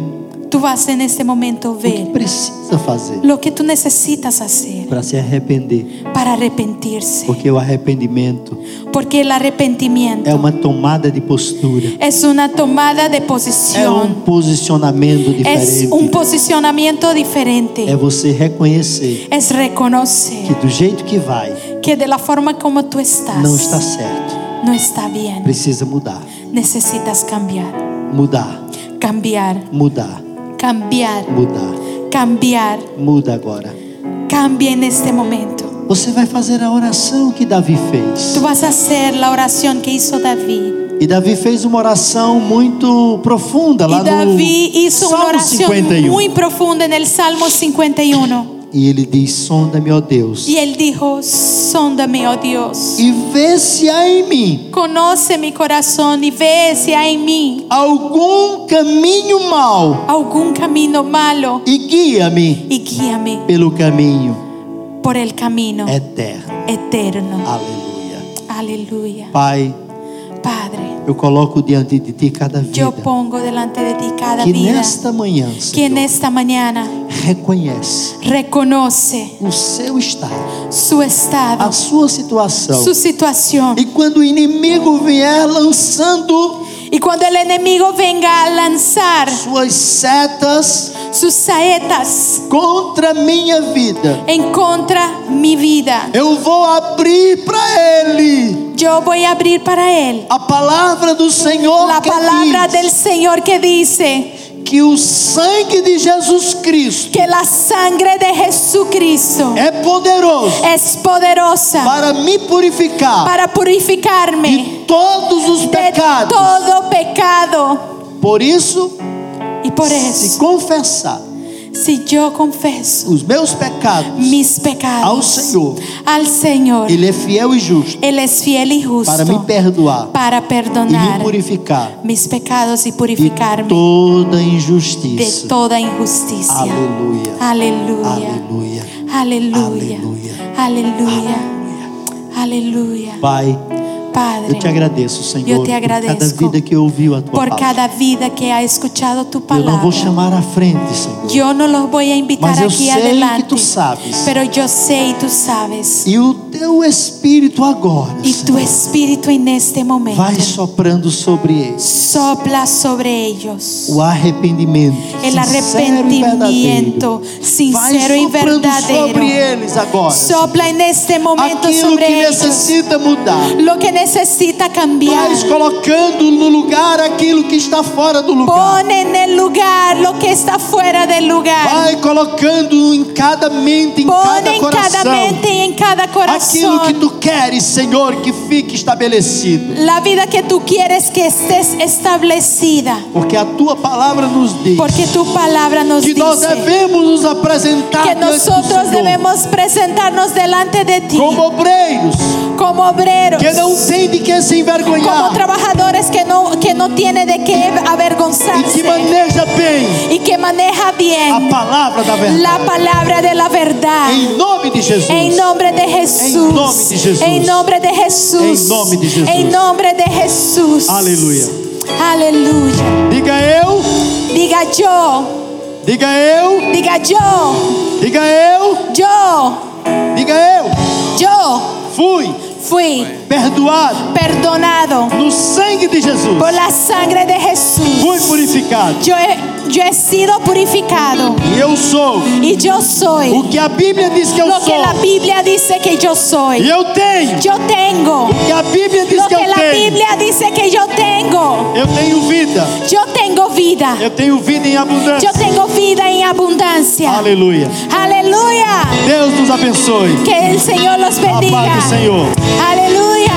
[SPEAKER 3] Tú vas en este momento a
[SPEAKER 2] o que
[SPEAKER 3] ver
[SPEAKER 2] precisa fazer
[SPEAKER 3] lo que tú necesitas hacer
[SPEAKER 2] para se arrepender.
[SPEAKER 3] para arrepentirse.
[SPEAKER 2] Porque o arrependimento
[SPEAKER 3] Porque el
[SPEAKER 2] é
[SPEAKER 3] arrepentimiento
[SPEAKER 2] uma tomada de postura,
[SPEAKER 3] es una tomada de
[SPEAKER 2] é
[SPEAKER 3] posición.
[SPEAKER 2] um posicionamento
[SPEAKER 3] Es un
[SPEAKER 2] diferente.
[SPEAKER 3] posicionamiento
[SPEAKER 2] É
[SPEAKER 3] diferente.
[SPEAKER 2] você reconhecer
[SPEAKER 3] Es
[SPEAKER 2] que
[SPEAKER 3] reconocer
[SPEAKER 2] do jeito que vai,
[SPEAKER 3] que de la forma como tú
[SPEAKER 2] não está
[SPEAKER 3] estás
[SPEAKER 2] certo.
[SPEAKER 3] no está bien.
[SPEAKER 2] Precisa mudar,
[SPEAKER 3] Necesitas cambiar,
[SPEAKER 2] mudar,
[SPEAKER 3] cambiar,
[SPEAKER 2] mudar,
[SPEAKER 3] cambiar,
[SPEAKER 2] mudar.
[SPEAKER 3] cambiar.
[SPEAKER 2] Muda agora.
[SPEAKER 3] Cambia en este momento.
[SPEAKER 2] Você vai fazer a oração que Davi
[SPEAKER 3] Tú
[SPEAKER 2] fez.
[SPEAKER 3] vas a hacer la oración que hizo David.
[SPEAKER 2] E Davi fez uma oração muito profunda lá
[SPEAKER 3] Y David
[SPEAKER 2] no
[SPEAKER 3] hizo una
[SPEAKER 2] Salmo
[SPEAKER 3] oración
[SPEAKER 2] 51.
[SPEAKER 3] muy profunda en el Salmo 51.
[SPEAKER 2] E ele diz: Sonda-me, ó Deus,
[SPEAKER 3] Y él dijo, sóndame, oh Dios.
[SPEAKER 2] e vê se há em mim
[SPEAKER 3] Conoce mi corazón y ve si hay en mí
[SPEAKER 2] algum caminho mau
[SPEAKER 3] algún camino malo
[SPEAKER 2] e guia-me
[SPEAKER 3] y guíame
[SPEAKER 2] pelo caminho
[SPEAKER 3] por el camino
[SPEAKER 2] eterno.
[SPEAKER 3] eterno.
[SPEAKER 2] Aleluia.
[SPEAKER 3] Aleluia.
[SPEAKER 2] Pai,
[SPEAKER 3] Padre,
[SPEAKER 2] eu coloco diante de ti cada
[SPEAKER 3] yo
[SPEAKER 2] vida
[SPEAKER 3] pongo delante de ti cada
[SPEAKER 2] que
[SPEAKER 3] vida
[SPEAKER 2] nesta manhã
[SPEAKER 3] que
[SPEAKER 2] Senhor,
[SPEAKER 3] en esta mañana
[SPEAKER 2] reconhece
[SPEAKER 3] reconoce
[SPEAKER 2] o seu estado,
[SPEAKER 3] su estado,
[SPEAKER 2] a sua situação.
[SPEAKER 3] su situación.
[SPEAKER 2] E quando o inimigo vier lançando
[SPEAKER 3] Y cuando el enemigo venga a lanzar
[SPEAKER 2] suas setas
[SPEAKER 3] sus saetas
[SPEAKER 2] contra a minha vida,
[SPEAKER 3] en contra mi vida,
[SPEAKER 2] eu vou abrir para ele
[SPEAKER 3] yo voy a abrir para él
[SPEAKER 2] a palavra do Senhor
[SPEAKER 3] la
[SPEAKER 2] que
[SPEAKER 3] palabra
[SPEAKER 2] diz
[SPEAKER 3] del Señor que dice
[SPEAKER 2] que o sangue de Jesus Cristo
[SPEAKER 3] que la sangre de Jesucristo
[SPEAKER 2] é poderoso
[SPEAKER 3] es poderosa
[SPEAKER 2] para me purificar
[SPEAKER 3] para purificarme
[SPEAKER 2] de todos os
[SPEAKER 3] de
[SPEAKER 2] pecados.
[SPEAKER 3] todo pecado.
[SPEAKER 2] Por isso,
[SPEAKER 3] Y por
[SPEAKER 2] se
[SPEAKER 3] eso,
[SPEAKER 2] confessar
[SPEAKER 3] si yo confieso
[SPEAKER 2] os meus pecados,
[SPEAKER 3] mis
[SPEAKER 2] Ao
[SPEAKER 3] pecados
[SPEAKER 2] Senhor.
[SPEAKER 3] al Señor,
[SPEAKER 2] ele é fiel e justo
[SPEAKER 3] Él es fiel y
[SPEAKER 2] para me
[SPEAKER 3] justo
[SPEAKER 2] perdoar
[SPEAKER 3] para
[SPEAKER 2] e me
[SPEAKER 3] perdonar
[SPEAKER 2] purificar
[SPEAKER 3] mis pecados y
[SPEAKER 2] de
[SPEAKER 3] purificarme
[SPEAKER 2] toda
[SPEAKER 3] de
[SPEAKER 2] injustiça.
[SPEAKER 3] toda injusticia.
[SPEAKER 2] Aleluia.
[SPEAKER 3] Aleluya.
[SPEAKER 2] Aleluia.
[SPEAKER 3] Aleluya.
[SPEAKER 2] Aleluia.
[SPEAKER 3] Aleluya. Aleluya.
[SPEAKER 2] Pai, eu te
[SPEAKER 3] Padre,
[SPEAKER 2] agradeço, Senhor,
[SPEAKER 3] Eu
[SPEAKER 2] por
[SPEAKER 3] te
[SPEAKER 2] cada
[SPEAKER 3] agradeço
[SPEAKER 2] vida que ouviu a tua
[SPEAKER 3] por
[SPEAKER 2] palavra.
[SPEAKER 3] cada vida que ha escuchado tu
[SPEAKER 2] Eu não vou
[SPEAKER 3] palabra,
[SPEAKER 2] chamar à frente, Senhor,
[SPEAKER 3] yo no los voy a
[SPEAKER 2] mas
[SPEAKER 3] invitar
[SPEAKER 2] eu
[SPEAKER 3] aquí
[SPEAKER 2] sei que
[SPEAKER 3] adelante,
[SPEAKER 2] tu sabes.
[SPEAKER 3] pero yo sé y tú sabes.
[SPEAKER 2] E o teu espírito agora
[SPEAKER 3] Y tu
[SPEAKER 2] Senhor,
[SPEAKER 3] espíritu en este momento
[SPEAKER 2] vai soprando sobre eles
[SPEAKER 3] sopla sobre ellos.
[SPEAKER 2] o arrependimento.
[SPEAKER 3] El
[SPEAKER 2] sincero e
[SPEAKER 3] arrepentimiento
[SPEAKER 2] verdadeiro. vai
[SPEAKER 3] sincero y
[SPEAKER 2] soprando sobre
[SPEAKER 3] verdadero.
[SPEAKER 2] eles agora.
[SPEAKER 3] Sopla en este momento
[SPEAKER 2] aquilo que
[SPEAKER 3] sobre ellos
[SPEAKER 2] necessita mudar.
[SPEAKER 3] lo que necesita cambiar.
[SPEAKER 2] Mas colocando no lugar aquilo que está fora do lugar.
[SPEAKER 3] Pone en el lugar lo que está fuera del lugar.
[SPEAKER 2] Vai colocando em cada mente, em cada
[SPEAKER 3] Pone en cada
[SPEAKER 2] coração.
[SPEAKER 3] mente y en cada
[SPEAKER 2] Aquilo que
[SPEAKER 3] corazón
[SPEAKER 2] tu queres, Senhor, que fique estabelecido.
[SPEAKER 3] la vida que tú quieres que estés establecida.
[SPEAKER 2] Porque a tua palavra nos diz
[SPEAKER 3] Porque tu palabra nos
[SPEAKER 2] que nós
[SPEAKER 3] dice
[SPEAKER 2] devemos nos apresentar
[SPEAKER 3] que
[SPEAKER 2] diante do
[SPEAKER 3] nosotros
[SPEAKER 2] Senhor
[SPEAKER 3] debemos presentarnos delante de ti
[SPEAKER 2] como obreiros
[SPEAKER 3] como obreros.
[SPEAKER 2] que não tem de que se
[SPEAKER 3] como
[SPEAKER 2] envergonhar
[SPEAKER 3] trabajadores que no, que no tiene de qué
[SPEAKER 2] e que
[SPEAKER 3] avergonzarse
[SPEAKER 2] maneja bem
[SPEAKER 3] y que maneja
[SPEAKER 2] a
[SPEAKER 3] bien
[SPEAKER 2] palavra da
[SPEAKER 3] la
[SPEAKER 2] verdade.
[SPEAKER 3] palabra de la verdad.
[SPEAKER 2] Em nome de Jesus.
[SPEAKER 3] En nombre de
[SPEAKER 2] En nombre de Jesús.
[SPEAKER 3] Jesús. En nombre de Jesús.
[SPEAKER 2] En nombre de Jesús.
[SPEAKER 3] En nombre de Jesús.
[SPEAKER 2] Aleluya.
[SPEAKER 3] Aleluya.
[SPEAKER 2] Diga eu,
[SPEAKER 3] Diga yo.
[SPEAKER 2] diga eu,
[SPEAKER 3] Diga yo.
[SPEAKER 2] diga eu,
[SPEAKER 3] Yo.
[SPEAKER 2] diga eu.
[SPEAKER 3] Yo
[SPEAKER 2] Fui
[SPEAKER 3] fui
[SPEAKER 2] perdoado
[SPEAKER 3] perdonado
[SPEAKER 2] no sangue de Jesus.
[SPEAKER 3] por la sangre de Jesús.
[SPEAKER 2] Fui purificado.
[SPEAKER 3] Yo he, yo he sido purificado.
[SPEAKER 2] E eu sou
[SPEAKER 3] Y yo soy.
[SPEAKER 2] o que a Bíblia diz que eu
[SPEAKER 3] lo que la
[SPEAKER 2] sou.
[SPEAKER 3] Biblia dice que yo
[SPEAKER 2] E
[SPEAKER 3] soy.
[SPEAKER 2] eu tenho
[SPEAKER 3] Yo tengo
[SPEAKER 2] o que a Bíblia diz
[SPEAKER 3] lo
[SPEAKER 2] que
[SPEAKER 3] que
[SPEAKER 2] eu
[SPEAKER 3] la
[SPEAKER 2] tenho.
[SPEAKER 3] Biblia dice que yo tengo.
[SPEAKER 2] Eu tenho vida.
[SPEAKER 3] Yo tengo vida.
[SPEAKER 2] Eu tenho vida em
[SPEAKER 3] Yo
[SPEAKER 2] abundância.
[SPEAKER 3] tengo vida en abundancia.
[SPEAKER 2] Aleluia.
[SPEAKER 3] Aleluya.
[SPEAKER 2] Deus nos abençoe.
[SPEAKER 3] Que el Señor los
[SPEAKER 2] A paz
[SPEAKER 3] bendiga.
[SPEAKER 2] do Senhor.
[SPEAKER 3] Aleluya.